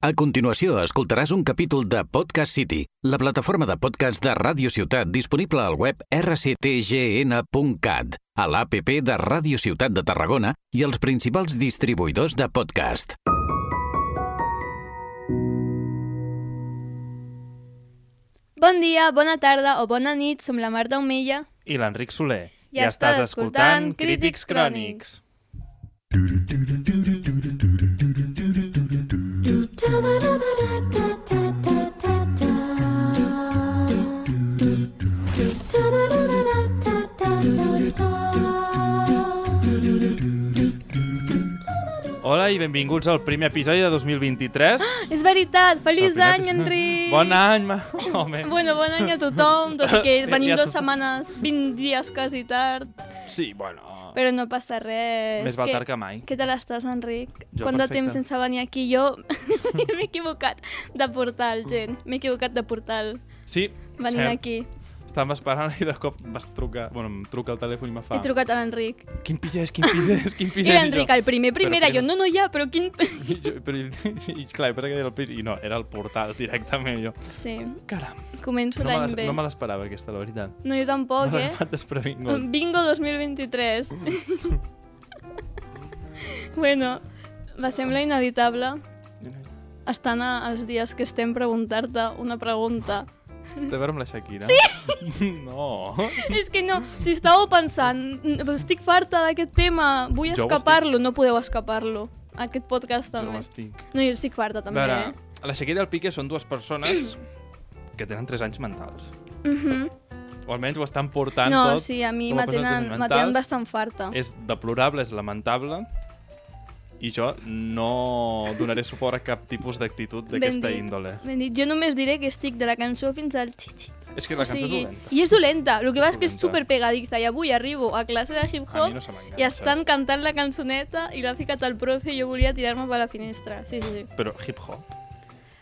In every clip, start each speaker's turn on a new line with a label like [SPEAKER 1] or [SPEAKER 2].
[SPEAKER 1] A continuació, escoltaràs un capítol de Podcast City, la plataforma de podcast de Ràdio Ciutat disponible al web rctgn.cat, a l'APP de Ràdio Ciutat de Tarragona i els principals distribuïdors de podcast.
[SPEAKER 2] Bon dia, bona tarda o bona nit, som la Marta Omella.
[SPEAKER 3] i l'Enric Soler.
[SPEAKER 2] I estàs escoltant Crítics Crònics.
[SPEAKER 3] Hola i benvinguts al primer episodi de 2023.
[SPEAKER 2] És veritat, Ah, feliç
[SPEAKER 3] És el
[SPEAKER 2] any,
[SPEAKER 3] primer episodi.
[SPEAKER 2] Enric!
[SPEAKER 3] Bon any, ma... oh, home.
[SPEAKER 2] Bueno, bon any a tothom, tot i que
[SPEAKER 3] Ja
[SPEAKER 2] venim
[SPEAKER 3] tu-
[SPEAKER 2] dues setmanes, 20 dies quasi tard,
[SPEAKER 3] Sí, bueno...
[SPEAKER 2] però no passa res.
[SPEAKER 3] Més val tard que mai.
[SPEAKER 2] Què tal estàs, Enric?
[SPEAKER 3] Jo
[SPEAKER 2] Quant de
[SPEAKER 3] perfecte.
[SPEAKER 2] temps sense venir aquí? Jo m'he equivocat de portal, gent. M'he equivocat de portal,
[SPEAKER 3] Sí,
[SPEAKER 2] venint aquí.
[SPEAKER 3] Estàvem esperant i de cop vas trucar... Bueno, em truca el telèfon i me fa...
[SPEAKER 2] He trucat a l'Enric.
[SPEAKER 3] Quin pis és, quin pis és, quin
[SPEAKER 2] I
[SPEAKER 3] pis és?
[SPEAKER 2] l'Enric,
[SPEAKER 3] jo-
[SPEAKER 2] el primer, primera,
[SPEAKER 3] Però
[SPEAKER 2] jo,
[SPEAKER 3] que
[SPEAKER 2] no, no, ja, però quin...
[SPEAKER 3] I, jo, però, i, i clar, pensa que era el pis i no, era el portal directament. Jo,
[SPEAKER 2] Sí,
[SPEAKER 3] caram,
[SPEAKER 2] començo
[SPEAKER 3] no me
[SPEAKER 2] l'any
[SPEAKER 3] l'es-
[SPEAKER 2] bé.
[SPEAKER 3] no me l'esperava aquesta, la veritat.
[SPEAKER 2] No, jo tampoc,
[SPEAKER 3] M'ha
[SPEAKER 2] eh?
[SPEAKER 3] agafat desprevingut.
[SPEAKER 2] Bingo 2023. bueno, va semblar inevitable estant a- als dies que estem preguntar-te una pregunta.
[SPEAKER 3] Té a veure amb la Shakira? Sí! No!
[SPEAKER 2] És que no, si estàveu pensant, "Mm, estic farta d'aquest tema, vull
[SPEAKER 3] Jo ho
[SPEAKER 2] escapar-lo, no podeu escapar-lo. Aquest podcast
[SPEAKER 3] Jo
[SPEAKER 2] també.
[SPEAKER 3] m'estic...
[SPEAKER 2] No, jo estic farta també,
[SPEAKER 3] veure,
[SPEAKER 2] eh?
[SPEAKER 3] la Shakira i el Piqué són dues persones que tenen 3 anys mentals.
[SPEAKER 2] Mhm.
[SPEAKER 3] O almenys ho estan portant
[SPEAKER 2] No,
[SPEAKER 3] tot.
[SPEAKER 2] sí, a mi
[SPEAKER 3] com a
[SPEAKER 2] me
[SPEAKER 3] persones
[SPEAKER 2] tenen, me
[SPEAKER 3] mentals.
[SPEAKER 2] tenen bastant farta.
[SPEAKER 3] És deplorable, és lamentable. I jo no donaré suport a cap tipus d'actitud d'aquesta
[SPEAKER 2] dit,
[SPEAKER 3] índole.
[SPEAKER 2] Ben dit. Jo només diré que estic de la cançó fins al xixi.
[SPEAKER 3] És que la
[SPEAKER 2] O
[SPEAKER 3] cançó
[SPEAKER 2] sigui,
[SPEAKER 3] és dolenta.
[SPEAKER 2] I és dolenta. El que
[SPEAKER 3] És
[SPEAKER 2] passa és que és
[SPEAKER 3] dolenta.
[SPEAKER 2] super pegadiza. I avui arribo a classe de
[SPEAKER 3] A mi
[SPEAKER 2] hip-hop
[SPEAKER 3] no se m'enganxa.
[SPEAKER 2] i estan cantant la cançoneta i l'ha ficat el profe i jo volia tirar-me per la finestra. Sí, sí, sí.
[SPEAKER 3] Però hip-hop?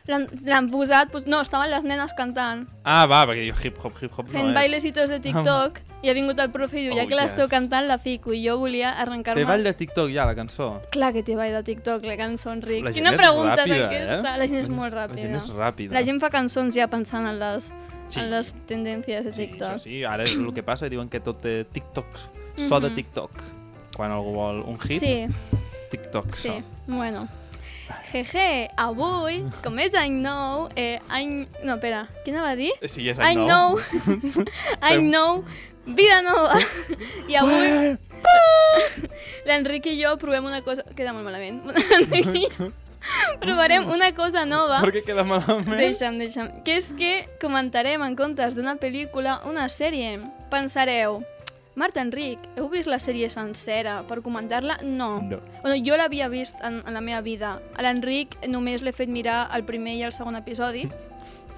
[SPEAKER 2] L'han l'han posat... Pues, no, estaven les nenes cantant.
[SPEAKER 3] Ah, va, perquè jo hip-hop, hip-hop
[SPEAKER 2] Fent
[SPEAKER 3] no és.
[SPEAKER 2] bailecitos de TikTok i ha vingut el profe i diu,
[SPEAKER 3] Oh,
[SPEAKER 2] ja que l'esteu
[SPEAKER 3] yes.
[SPEAKER 2] cantant, la fico. I jo volia
[SPEAKER 3] Té
[SPEAKER 2] arrencar-me...
[SPEAKER 3] ball de TikTok ja, la cançó.
[SPEAKER 2] Clar que té ball de TikTok, la cançó, Enric.
[SPEAKER 3] La gent
[SPEAKER 2] Quina
[SPEAKER 3] és
[SPEAKER 2] pregunta és
[SPEAKER 3] ràpida,
[SPEAKER 2] aquesta?
[SPEAKER 3] eh?
[SPEAKER 2] La gent és molt
[SPEAKER 3] La
[SPEAKER 2] ràpida.
[SPEAKER 3] gent és ràpida.
[SPEAKER 2] La gent fa cançons ja pensant en les,
[SPEAKER 3] Sí.
[SPEAKER 2] en les tendències de TikTok.
[SPEAKER 3] Sí, això sí, ara és el que passa, diuen que tot té TikTok, so de
[SPEAKER 2] Mhm.
[SPEAKER 3] TikTok. Quan algú vol un hit,
[SPEAKER 2] sí.
[SPEAKER 3] TikTok,
[SPEAKER 2] Sí,
[SPEAKER 3] so.
[SPEAKER 2] bueno. Jeje, avui, com és any nou, eh, any... No, espera, què anava a dir?
[SPEAKER 3] Eh, Sí, és
[SPEAKER 2] Any nou, any
[SPEAKER 3] Fem-
[SPEAKER 2] nou, vida nova. I avui l'Enric i jo provem una cosa... Queda molt malament. L'Enric i jo provarem una cosa nova.
[SPEAKER 3] Per què queda malament?
[SPEAKER 2] Deixa'm, deixa'm. Que és que comentarem en comptes d'una pel·lícula una sèrie. Pensareu, Marta Enric, heu vist la sèrie sencera per comentar-la? No.
[SPEAKER 3] No.
[SPEAKER 2] Bueno, jo l'havia vist en, en la meva vida. A l'Enric només l'he fet mirar el primer i el segon episodi.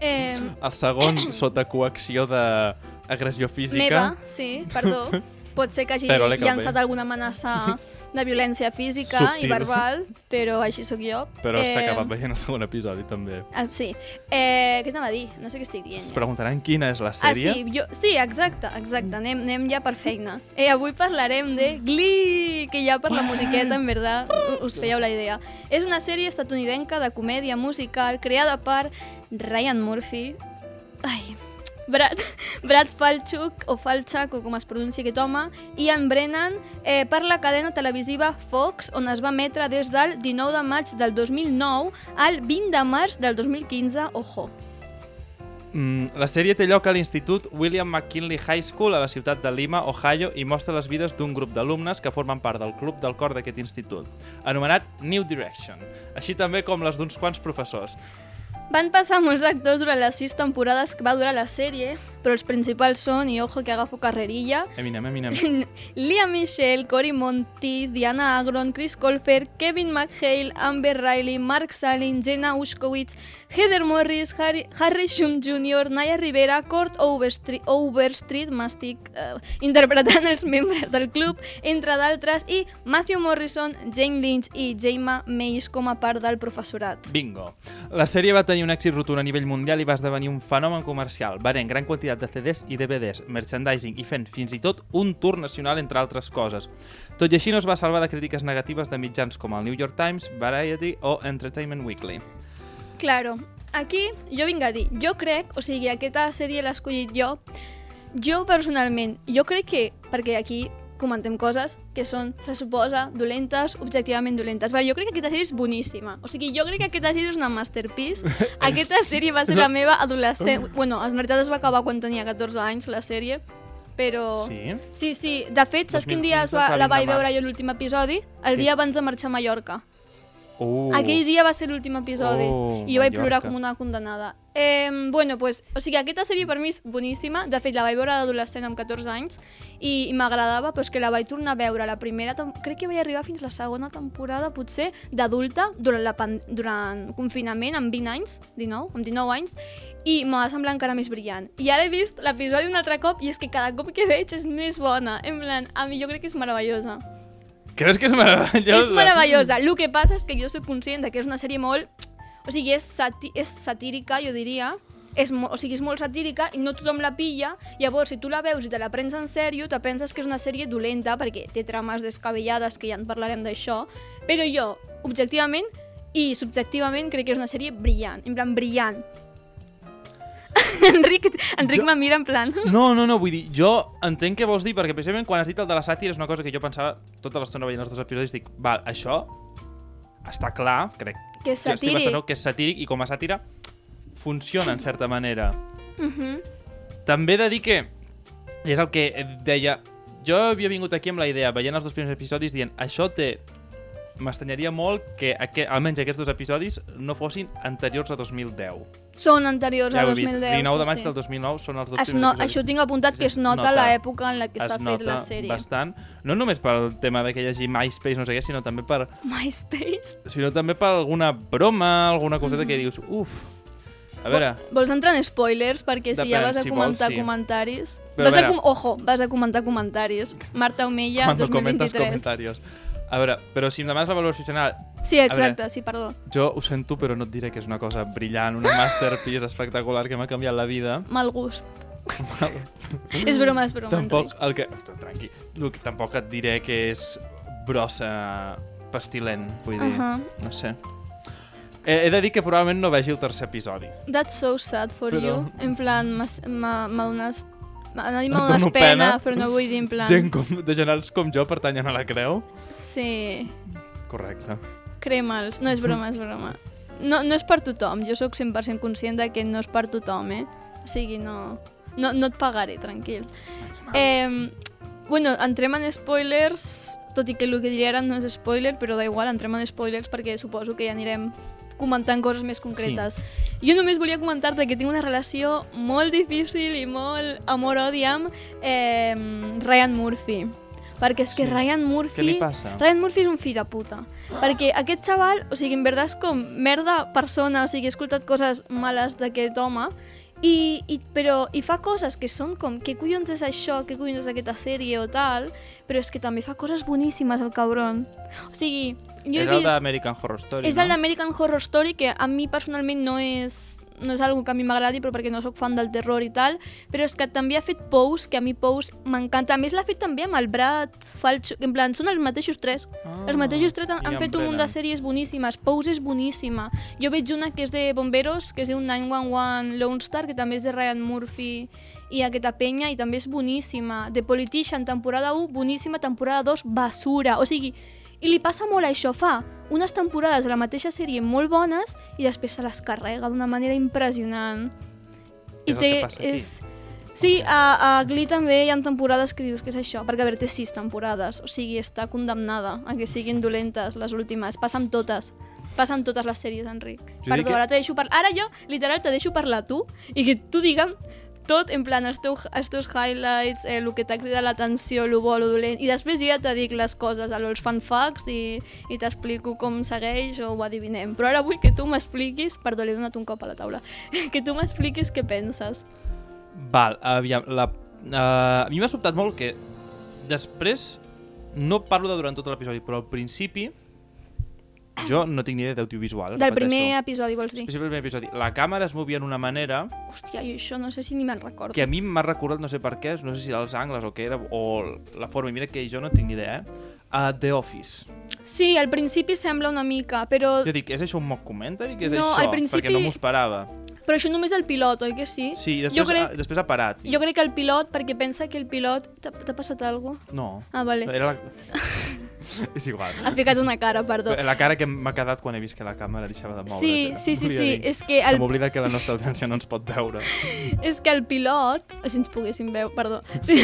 [SPEAKER 2] Eh,
[SPEAKER 3] El segon, sota coacció d'agressió física.
[SPEAKER 2] meva, sí, perdó. Pot ser que hagi
[SPEAKER 3] Però l'he cap
[SPEAKER 2] llançat
[SPEAKER 3] bé.
[SPEAKER 2] alguna amenaça de violència física i
[SPEAKER 3] Subtil.
[SPEAKER 2] verbal, però així sóc jo.
[SPEAKER 3] Però s'ha
[SPEAKER 2] Eh,
[SPEAKER 3] acabat veient el segon episodi, també.
[SPEAKER 2] Ah, sí. Eh, què t'anava a dir? No sé què estic dient.
[SPEAKER 3] Es
[SPEAKER 2] ja.
[SPEAKER 3] preguntaran quina és la
[SPEAKER 2] Ah,
[SPEAKER 3] sèrie.
[SPEAKER 2] sí, jo, sí, exacte, exacte, anem, anem ja per feina. Eh, avui parlarem de Glee, que ja per la musiqueta, en veritat, u- us fèieu la idea. És una sèrie estatunidenca de comèdia musical creada per Ryan Murphy, ai, Brad, Brad Falchuk, o Falchuk, o com es pronuncia aquest home, i en Brennan eh, per la cadena televisiva Fox, on es va emetre des del 19 de maig del 2009 al 20 de març del 2015, ojo.
[SPEAKER 3] Mm, la sèrie té lloc a l'Institut William McKinley High School a la ciutat de Lima, Ohio, i mostra les vides d'un grup d'alumnes que formen part del club del cor d'aquest institut, anomenat New Direction, així també com les d'uns quants professors.
[SPEAKER 2] Van passar molts actors durant les sis temporades que va durar la sèrie, però els principals són, i ojo que agafo carrerilla,
[SPEAKER 3] Eminem, Eminem.
[SPEAKER 2] Lia Michelle, Cory Monti, Diana Agron, Chris Colfer, Kevin McHale, Amber Riley, Mark Salin, Jenna Ushkowitz, Heather Morris, Harry, Harry Shum Jr., Naya Rivera, Kurt Overstreet, Overstreet m'estic eh, interpretant els membres del club, entre d'altres, i Matthew Morrison, Jane Lynch i Jaima Mays com a part del professorat.
[SPEAKER 3] Bingo. La sèrie va tenir tenir un èxit rotund a nivell mundial i va esdevenir un fenomen comercial, venent gran quantitat de CDs i DVDs, merchandising i fent fins i tot un tour nacional, entre altres coses. Tot i així no es va salvar de crítiques negatives de mitjans com el New York Times, Variety o Entertainment Weekly.
[SPEAKER 2] Claro, aquí jo vinc a dir, jo crec, o sigui, aquesta sèrie l'he escollit jo, jo personalment, jo crec que, perquè aquí comentem coses que són, se suposa, dolentes, objectivament dolentes. Vale, jo crec que aquesta sèrie és boníssima. O sigui, jo crec que aquesta sèrie és una masterpiece. Aquesta sèrie va ser la meva adolescent... Bueno, en veritat es va acabar quan tenia 14 anys, la sèrie, però...
[SPEAKER 3] Sí?
[SPEAKER 2] Sí, sí. De fet, saps quin dia es
[SPEAKER 3] 2015
[SPEAKER 2] va, la
[SPEAKER 3] clar, vint
[SPEAKER 2] vaig
[SPEAKER 3] de
[SPEAKER 2] veure
[SPEAKER 3] març.
[SPEAKER 2] jo l'últim episodi? El
[SPEAKER 3] Sí.
[SPEAKER 2] dia abans de marxar a Mallorca.
[SPEAKER 3] Uh.
[SPEAKER 2] Aquell dia va ser l'últim episodi
[SPEAKER 3] Oh,
[SPEAKER 2] i jo vaig
[SPEAKER 3] Mallorca.
[SPEAKER 2] plorar com una condemnada. Eh, bueno, pues, o sigui, aquesta sèrie per mi és boníssima. De fet, la vaig veure d'adolescent amb 14 anys i, i m'agradava, però és que la vaig tornar a veure la primera... tem- Crec que vaig arribar fins la segona temporada, potser, d'adulta, durant, la pan durant confinament, amb 20 anys, 19, amb 19 anys, i m'ha semblat encara més brillant. I ara he vist l'episodi un altre cop i és que cada cop que veig és més bona. En plan, a mi jo crec que és meravellosa.
[SPEAKER 3] Creus que és meravellosa?
[SPEAKER 2] És meravellosa. El que passa és que jo soc conscient de que és una sèrie molt... O sigui, és, sati és satírica, jo diria. És mo- o sigui, és molt satírica i no tothom la pilla. Llavors, si tu la veus i te la prens en sèrio, te penses que és una sèrie dolenta perquè té trames descabellades, que ja en parlarem d'això. Però jo, objectivament i subjectivament, crec que és una sèrie brillant. En plan, brillant. Enric, Enric
[SPEAKER 3] Jo- Mm.
[SPEAKER 2] me mira en plan...
[SPEAKER 3] No, no, no, vull dir, jo entenc què vols dir, perquè precisament quan has dit el de la sàtira és una cosa que jo pensava tota l'estona veient els dos episodis, dic, val, això està clar, crec
[SPEAKER 2] Que és
[SPEAKER 3] que estic bastant
[SPEAKER 2] satíric.
[SPEAKER 3] d'acord que és satíric i com a sàtira funciona en certa manera.
[SPEAKER 2] Mhm.
[SPEAKER 3] També he de dir que és el que deia... Jo havia vingut aquí amb la idea, veient els dos primers episodis, dient això té... M'estanyaria molt que aqu... almenys aquests dos episodis no fossin anteriors a 2010
[SPEAKER 2] Són anteriors
[SPEAKER 3] ja
[SPEAKER 2] a
[SPEAKER 3] ho he
[SPEAKER 2] 2010.
[SPEAKER 3] vist. 19 de
[SPEAKER 2] sí,
[SPEAKER 3] maig
[SPEAKER 2] sí.
[SPEAKER 3] del 2009 són els dos
[SPEAKER 2] Es
[SPEAKER 3] primers
[SPEAKER 2] no,
[SPEAKER 3] episodis.
[SPEAKER 2] això ho tinc apuntat que es nota l'època en la que
[SPEAKER 3] es
[SPEAKER 2] s'ha fet
[SPEAKER 3] nota
[SPEAKER 2] la sèrie.
[SPEAKER 3] bastant. No només pel tema de que hi hagi MySpace, no sé què, sinó també per,
[SPEAKER 2] MySpace?
[SPEAKER 3] sinó també per alguna broma, alguna coseta
[SPEAKER 2] Mhm.
[SPEAKER 3] que dius, uf... A veure,
[SPEAKER 2] Vols entrar en spoilers? Perquè si ja
[SPEAKER 3] Depèn,
[SPEAKER 2] vas a
[SPEAKER 3] si
[SPEAKER 2] comentar
[SPEAKER 3] vols, sí.
[SPEAKER 2] comentaris...
[SPEAKER 3] Però a
[SPEAKER 2] vas a
[SPEAKER 3] veure.
[SPEAKER 2] com... Ojo, vas a comentar comentaris. Marta Omella,
[SPEAKER 3] quan
[SPEAKER 2] 2023.
[SPEAKER 3] comentes comentaris. A veure, però si em demanes la valoració general,
[SPEAKER 2] Sí, exacte, sí, perdó.
[SPEAKER 3] jo ho sento, però no et diré que és una cosa brillant, una masterpiece espectacular que m'ha canviat la vida.
[SPEAKER 2] Mal gust. és broma, és broma,
[SPEAKER 3] Tampoc
[SPEAKER 2] Enric.
[SPEAKER 3] el que... Tranqui. El que tampoc et diré que és brossa pestilent, vull dir,
[SPEAKER 2] Ahà.
[SPEAKER 3] no sé. He, he de dir que probablement no vegi el tercer episodi.
[SPEAKER 2] That's so sad for
[SPEAKER 3] Però-
[SPEAKER 2] you. En plan, m'has- m'ha m'ha donat... M'ha donat
[SPEAKER 3] Et
[SPEAKER 2] pena,
[SPEAKER 3] dono pena.
[SPEAKER 2] pena, però no vull dir en plan...
[SPEAKER 3] Gent com, de generals com jo pertanyen a la creu?
[SPEAKER 2] Sí.
[SPEAKER 3] Correcte.
[SPEAKER 2] Crema'ls. No, és broma, és broma. No, no és per tothom. Jo sóc 100% conscient de que no és per tothom, eh? O sigui, no... No, no et pagaré, tranquil. Eh, bueno, entrem en spoilers, tot i que el que diré ara no és spoiler, però da igual, entrem en spoilers perquè suposo que ja anirem comentant coses més concretes. Jo només volia comentar-te que tinc una relació molt difícil i molt amor-odi amb eh, Ryan Murphy. Perquè és que
[SPEAKER 3] Sí.
[SPEAKER 2] Ryan Murphy...
[SPEAKER 3] Què li passa?
[SPEAKER 2] Ryan Murphy és un fill de puta. Perquè aquest xaval, o sigui, en veritat és com merda persona, o sigui, he escoltat coses males d'aquest home, i, i, però, i fa coses que són com què collons és això, què collons és aquesta sèrie o tal, però és que també fa coses boníssimes el cabron. O sigui, jo
[SPEAKER 3] és
[SPEAKER 2] he
[SPEAKER 3] el
[SPEAKER 2] vist...
[SPEAKER 3] d'American Horror Story,
[SPEAKER 2] És
[SPEAKER 3] no?
[SPEAKER 2] el d'American Horror Story, que a mi personalment no és no és algo que a mi m'agradi, però perquè no sóc fan del terror i tal, però és que també ha fet Pose, que a mi Pose m'encanta. A més, l'ha fet també amb el Brad Falchuk, en plan, són els mateixos tres.
[SPEAKER 3] Ah,
[SPEAKER 2] Els mateixos tres han,
[SPEAKER 3] i
[SPEAKER 2] han
[SPEAKER 3] en
[SPEAKER 2] fet un munt de
[SPEAKER 3] prenen.
[SPEAKER 2] sèries boníssimes. Pose és boníssima. Jo veig una que és de Bomberos, que es diu 911 Lone Star, que també és de Ryan Murphy i aquesta penya, i també és boníssima. The Politician, temporada 1, boníssima, temporada 2, basura. O sigui, i li passa molt això, fa unes temporades de la mateixa sèrie molt bones i després se les carrega d'una manera impressionant.
[SPEAKER 3] És el que passa aquí.
[SPEAKER 2] és, Sí, a, a Glee també hi ha temporades que dius que és això, perquè a veure, té sis temporades, o sigui, està condemnada a que siguin dolentes les últimes, passa amb totes, passa amb totes les sèries, Enric.
[SPEAKER 3] Jo dic
[SPEAKER 2] Perdó,
[SPEAKER 3] que-
[SPEAKER 2] ara te deixo parlar, ara jo, literal, te deixo parlar tu, i que tu digue'm tot, en plan, els, teu, els teus highlights, eh, el que t'ha cridat l'atenció, el bo, el dolent, i després jo ja te dic les coses, allò, els fanfacts, i, i t'explico com segueix o ho adivinem. Però ara vull que tu m'expliquis, perdó, li he donat un cop a la taula, que tu m'expliquis què penses.
[SPEAKER 3] Val, aviam, la, uh, a mi m'ha sobtat molt que després, no parlo de durant tot l'episodi, però al principi Jo no tinc ni idea d'audiovisual.
[SPEAKER 2] Del primer episodi, vols dir?
[SPEAKER 3] És el primer episodi. La càmera es movia d'una manera
[SPEAKER 2] Hòstia, jo això no sé si ni me'n recordo.
[SPEAKER 3] que a mi m'ha recordat, no sé per què, no sé si els angles o què era, o la forma, i mira que jo no tinc ni idea, eh? A The Office.
[SPEAKER 2] Sí, al principi sembla una mica, però,
[SPEAKER 3] Jo dic, és això un mock commentary? Què és
[SPEAKER 2] No,
[SPEAKER 3] això?
[SPEAKER 2] al principi-
[SPEAKER 3] Perquè no m'ho esperava.
[SPEAKER 2] però això només el pilot, oi que sí?
[SPEAKER 3] Sí, i
[SPEAKER 2] jo,
[SPEAKER 3] després,
[SPEAKER 2] crec,
[SPEAKER 3] ah, després ha parat.
[SPEAKER 2] jo crec que el pilot, perquè pensa que el pilot... T'ha t'ha passat alguna cosa?
[SPEAKER 3] No.
[SPEAKER 2] Ah, vale.
[SPEAKER 3] Era la... és igual.
[SPEAKER 2] Ha ficat una cara, perdó.
[SPEAKER 3] La cara que m'ha quedat quan he vist que la càmera deixava de moure's.
[SPEAKER 2] Sí,
[SPEAKER 3] era.
[SPEAKER 2] sí, sí,
[SPEAKER 3] Volia
[SPEAKER 2] sí.
[SPEAKER 3] dir.
[SPEAKER 2] És que,
[SPEAKER 3] Se
[SPEAKER 2] el,
[SPEAKER 3] m'oblida que la nostra audiència no ens pot veure.
[SPEAKER 2] és que el pilot... Si ens poguéssim veure, perdó. Sí.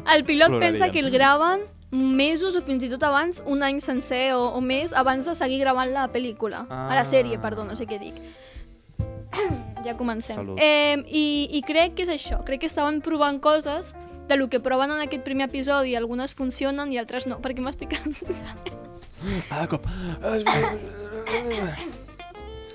[SPEAKER 2] El pilot
[SPEAKER 3] Plorarien.
[SPEAKER 2] pensa que el graven mesos o fins i tot abans, un any sencer o, o més, abans de seguir gravant la pel·lícula. A
[SPEAKER 3] Ah.
[SPEAKER 2] la sèrie, perdó, no sé què dic. Ja comencem.
[SPEAKER 3] Salut.
[SPEAKER 2] Eh, i, I crec que és això. Crec que estaven provant coses de lo que proven en aquest primer episodi. Algunes funcionen i altres no, perquè m'estic cansant.
[SPEAKER 3] Ah, de cop.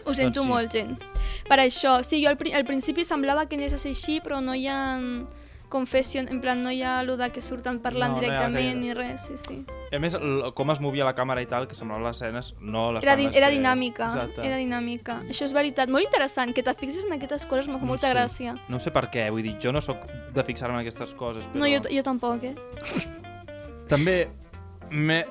[SPEAKER 2] Ho sento
[SPEAKER 3] Ah, sí.
[SPEAKER 2] doncs sí. molt, gent. Per això, sí, jo al, pri al principi semblava que anés a ser així, però no hi ha mm, confession, en plan, no hi ha allò de que surten parlant
[SPEAKER 3] No, no hi ha
[SPEAKER 2] directament
[SPEAKER 3] gaire.
[SPEAKER 2] ni res, sí, sí.
[SPEAKER 3] A més, l- com es movia la càmera i tal, que semblava les escenes, no les
[SPEAKER 2] Era, di
[SPEAKER 3] planes
[SPEAKER 2] era
[SPEAKER 3] que-
[SPEAKER 2] dinàmica,
[SPEAKER 3] Exacte.
[SPEAKER 2] era dinàmica. Això és veritat, molt interessant, que te fixis en aquestes coses m'ha
[SPEAKER 3] No
[SPEAKER 2] no molta
[SPEAKER 3] sé.
[SPEAKER 2] gràcia.
[SPEAKER 3] No sé per què, vull dir, jo no sóc de fixar-me en aquestes coses, però...
[SPEAKER 2] No, jo, t- jo tampoc, eh?
[SPEAKER 3] També m'he...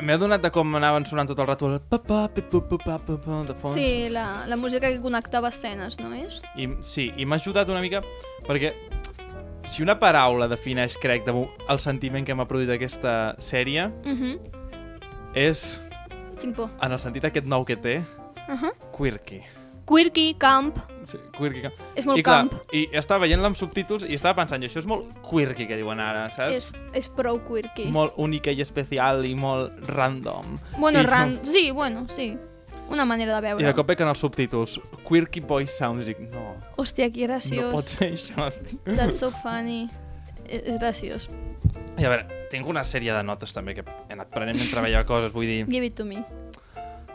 [SPEAKER 3] M'he adonat de com anaven sonant tot el rato el pa pa pa pa pa pa pa pa de fons.
[SPEAKER 2] Sí, la, la música que connectava escenes, no és?
[SPEAKER 3] I, sí, i m'ha ajudat una mica perquè si una paraula defineix, crec, de, mo- el sentiment que m'ha produït aquesta sèrie
[SPEAKER 2] Mhm,
[SPEAKER 3] és,
[SPEAKER 2] tinc por.
[SPEAKER 3] en el sentit aquest nou que té,
[SPEAKER 2] Uh -huh.
[SPEAKER 3] quirky.
[SPEAKER 2] Quirky, camp,
[SPEAKER 3] Sí, quirky. que-
[SPEAKER 2] és molt
[SPEAKER 3] I clar,
[SPEAKER 2] camp.
[SPEAKER 3] i estava veient-la amb subtítols i estava pensant, "Jo, això és molt quirky que diuen ara, saps?
[SPEAKER 2] És, és prou quirky.
[SPEAKER 3] Molt única i especial i molt random.
[SPEAKER 2] Bueno,
[SPEAKER 3] I,
[SPEAKER 2] ran... Sí, bueno, sí. Una manera de veure.
[SPEAKER 3] I de cop veig en els subtítols, quirky boy sounds, i dic, no,
[SPEAKER 2] Hòstia, que
[SPEAKER 3] no
[SPEAKER 2] graciós.
[SPEAKER 3] pot ser això.
[SPEAKER 2] That's so funny. És és graciós.
[SPEAKER 3] I a veure, tinc una sèrie de notes també que he anat prenent mentre veia coses, vull dir...
[SPEAKER 2] Give it to me.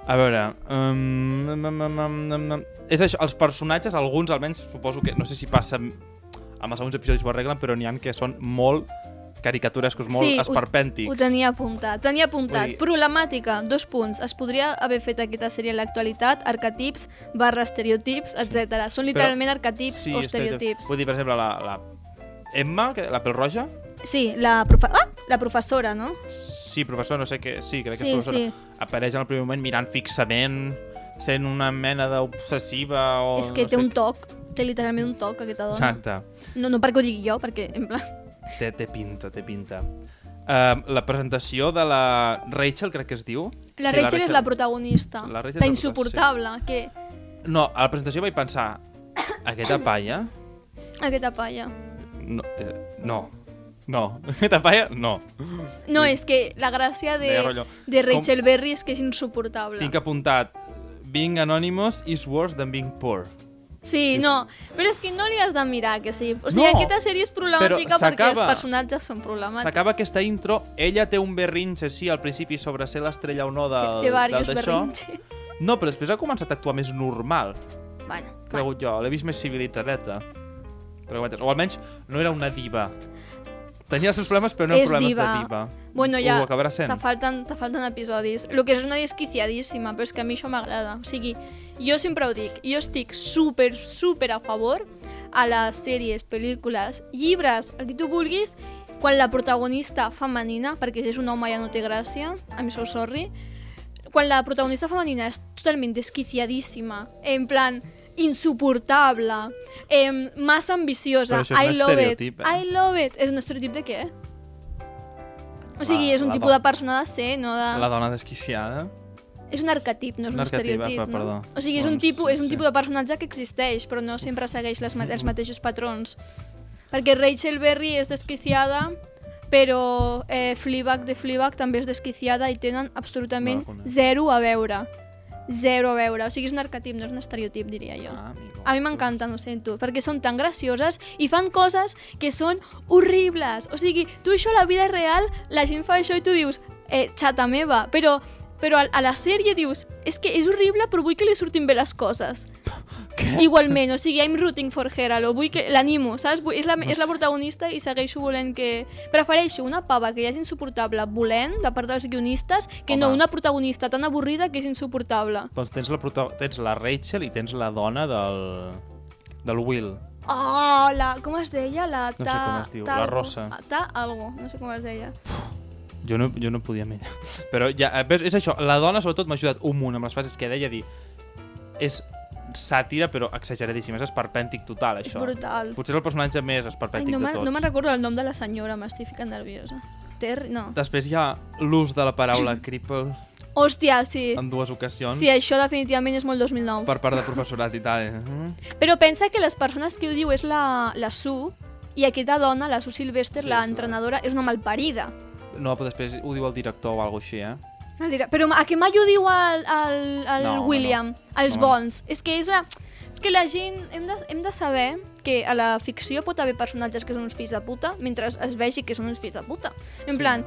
[SPEAKER 3] A veure... Um, um, um, um, um, um, és això, els personatges, alguns almenys, suposo que... No sé si passa amb amb els segons episodis ho arreglen, però n'hi han que són molt caricaturescos, molt
[SPEAKER 2] Sí, ho-
[SPEAKER 3] esperpèntics.
[SPEAKER 2] Ho tenia apuntat, tenia apuntat.
[SPEAKER 3] Vull dir-
[SPEAKER 2] Problemàtica, dos punts. Es podria haver fet aquesta sèrie en l'actualitat, arquetips, barra estereotips, etc. Són literalment arquetips o
[SPEAKER 3] estereotips.
[SPEAKER 2] estereotips.
[SPEAKER 3] Vull dir, per exemple, la, la Emma, que, la pèl roja,
[SPEAKER 2] Sí, la, profe... ah, la professora, no?
[SPEAKER 3] sí, professor, no sé què, sí, crec que
[SPEAKER 2] Sí,
[SPEAKER 3] és professora,
[SPEAKER 2] sí.
[SPEAKER 3] apareix en el primer moment mirant fixament, sent una mena d'obsessiva o...
[SPEAKER 2] És que
[SPEAKER 3] Oh, no
[SPEAKER 2] té
[SPEAKER 3] sé
[SPEAKER 2] un eh?
[SPEAKER 3] què.
[SPEAKER 2] toc, té literalment un toc aquesta dona.
[SPEAKER 3] Exacte.
[SPEAKER 2] No, no perquè ho digui jo, perquè en plan...
[SPEAKER 3] Té, té pinta, té pinta. Uh, la presentació de la Rachel, crec que es diu.
[SPEAKER 2] La
[SPEAKER 3] Sí,
[SPEAKER 2] Rachel, és la protagonista,
[SPEAKER 3] La Rachel és la
[SPEAKER 2] insuportable, que
[SPEAKER 3] No, a la presentació vaig pensar... Aquesta paia...
[SPEAKER 2] aquesta palla.
[SPEAKER 3] No. Eh, no. no. Aquesta paia, no.
[SPEAKER 2] No, és que la gràcia
[SPEAKER 3] Deia
[SPEAKER 2] de,
[SPEAKER 3] rotllo,
[SPEAKER 2] de Rachel Berry és que és insuportable.
[SPEAKER 3] Tinc apuntat... Being anonymous is worse than being poor.
[SPEAKER 2] Sí, no, però és que no li has de mirar, que sí. O sigui,
[SPEAKER 3] No,
[SPEAKER 2] aquesta sèrie és problemàtica
[SPEAKER 3] però
[SPEAKER 2] perquè els
[SPEAKER 3] s'acaba.
[SPEAKER 2] personatges són problemàtics.
[SPEAKER 3] S'acaba aquesta intro, ella té un berrinxe, sí, al principi sobre ser l'estrella o no del,
[SPEAKER 2] Té
[SPEAKER 3] del
[SPEAKER 2] diversos
[SPEAKER 3] d'això.
[SPEAKER 2] berrinxes.
[SPEAKER 3] No, però després ha començat a actuar més normal,
[SPEAKER 2] Bueno, bueno.
[SPEAKER 3] cregut jo. L'he vist més civilitzadeta. Entre cometes. O almenys no era una diva. Tenia els seus problemes, però no
[SPEAKER 2] És
[SPEAKER 3] eren problemes
[SPEAKER 2] diva.
[SPEAKER 3] de diva.
[SPEAKER 2] Bueno, ja
[SPEAKER 3] Ho acabarà
[SPEAKER 2] te
[SPEAKER 3] sent.
[SPEAKER 2] falten, te falten episodis. El que és una desquiciadíssima, però és que a mi això m'agrada. O sigui, jo sempre ho dic, jo estic super, super a favor a les sèries, pel·lícules, llibres, el que tu vulguis, quan la protagonista femenina, perquè si és un home ja no té gràcia, I'm so sorry, quan la protagonista femenina és totalment desquiciadíssima, en plan insuportable, em, massa ambiciosa,
[SPEAKER 3] Però això és
[SPEAKER 2] I
[SPEAKER 3] un
[SPEAKER 2] love it,
[SPEAKER 3] estereotip, eh?
[SPEAKER 2] I love it. És un estereotip de què? O sigui,
[SPEAKER 3] La-
[SPEAKER 2] és un
[SPEAKER 3] la
[SPEAKER 2] tipus
[SPEAKER 3] dona.
[SPEAKER 2] de persona de ser, no de...
[SPEAKER 3] La dona desquiciada.
[SPEAKER 2] És un arquetip, no és un,
[SPEAKER 3] Un arquetip,
[SPEAKER 2] estereotip,
[SPEAKER 3] va,
[SPEAKER 2] no?
[SPEAKER 3] perdó.
[SPEAKER 2] O sigui, és un,
[SPEAKER 3] Doncs,
[SPEAKER 2] tipus, és un
[SPEAKER 3] sí. Mm-hmm.
[SPEAKER 2] tipus de personatge que existeix, però no sempre segueix les, ma- els mateixos patrons. Perquè Rachel Berry és desquiciada, però eh, Fleabag de Fleabag també és desquiciada i tenen absolutament
[SPEAKER 3] No la conec.
[SPEAKER 2] zero a veure. Zero a veure. O sigui, és un arquetip, no és un estereotip, diria jo.
[SPEAKER 3] Ah, amigo.
[SPEAKER 2] A mi m'encanten, ho sento, perquè són tan gracioses i fan coses que són horribles. O sigui, tu això a la vida real, la gent fa això i tu dius, eh, xata meva, però però a, a la sèrie dius, és que és horrible, però vull que li surtin bé les coses. Igualment, o sigui, I'm rooting for her, lo vull que l'animo, saps? Vull, és, la, és la protagonista i segueixo volent que... Prefereixo una pava que ja és insuportable volent, de part dels guionistes, que Home. no
[SPEAKER 3] Home.
[SPEAKER 2] una protagonista tan avorrida que és insuportable.
[SPEAKER 3] Doncs tens la, prota... tens la Rachel i tens la dona del, del Will.
[SPEAKER 2] Oh, la... Com es deia? La ta...
[SPEAKER 3] No sé com es diu, la
[SPEAKER 2] algo.
[SPEAKER 3] Rosa.
[SPEAKER 2] Ta algo, no sé com es deia.
[SPEAKER 3] Jo no, jo no podia amb ella. Però ja, eh, veus, és això, la dona sobretot m'ha ajudat un munt amb les frases que deia a dir és sàtira però exageradíssima, és esperpèntic total
[SPEAKER 2] És
[SPEAKER 3] això.
[SPEAKER 2] brutal.
[SPEAKER 3] Potser és el personatge més
[SPEAKER 2] Ai,
[SPEAKER 3] esperpèntic
[SPEAKER 2] no
[SPEAKER 3] de
[SPEAKER 2] me'n
[SPEAKER 3] tots.
[SPEAKER 2] no me'n recordo el nom de la senyora, m'estic ficant nerviosa. Terry, no.
[SPEAKER 3] Després hi ha l'ús de la paraula cripple
[SPEAKER 2] Hòstia, sí.
[SPEAKER 3] en dues ocasions
[SPEAKER 2] Sí, eh. això definitivament és molt 2009.
[SPEAKER 3] Doncs. per part de professorat i tal. eh? Mhm.
[SPEAKER 2] Però pensa que les persones que ho diu és la, la Su, i aquesta dona, la Su Sylvester,
[SPEAKER 3] Sí,
[SPEAKER 2] la
[SPEAKER 3] és una-
[SPEAKER 2] entrenadora, és una malparida.
[SPEAKER 3] No, però després ho diu el director o alguna així, eh?
[SPEAKER 2] Em dirà, Però a què mai ho diu el, el, el
[SPEAKER 3] No,
[SPEAKER 2] no,
[SPEAKER 3] home,
[SPEAKER 2] William, no. els
[SPEAKER 3] No, home.
[SPEAKER 2] bons? És que és la... És que la gent... Hem de, hem de saber que a la ficció pot haver personatges que són uns fills de puta mentre es vegi que són uns fills de puta. En
[SPEAKER 3] Sí.
[SPEAKER 2] sí. plan,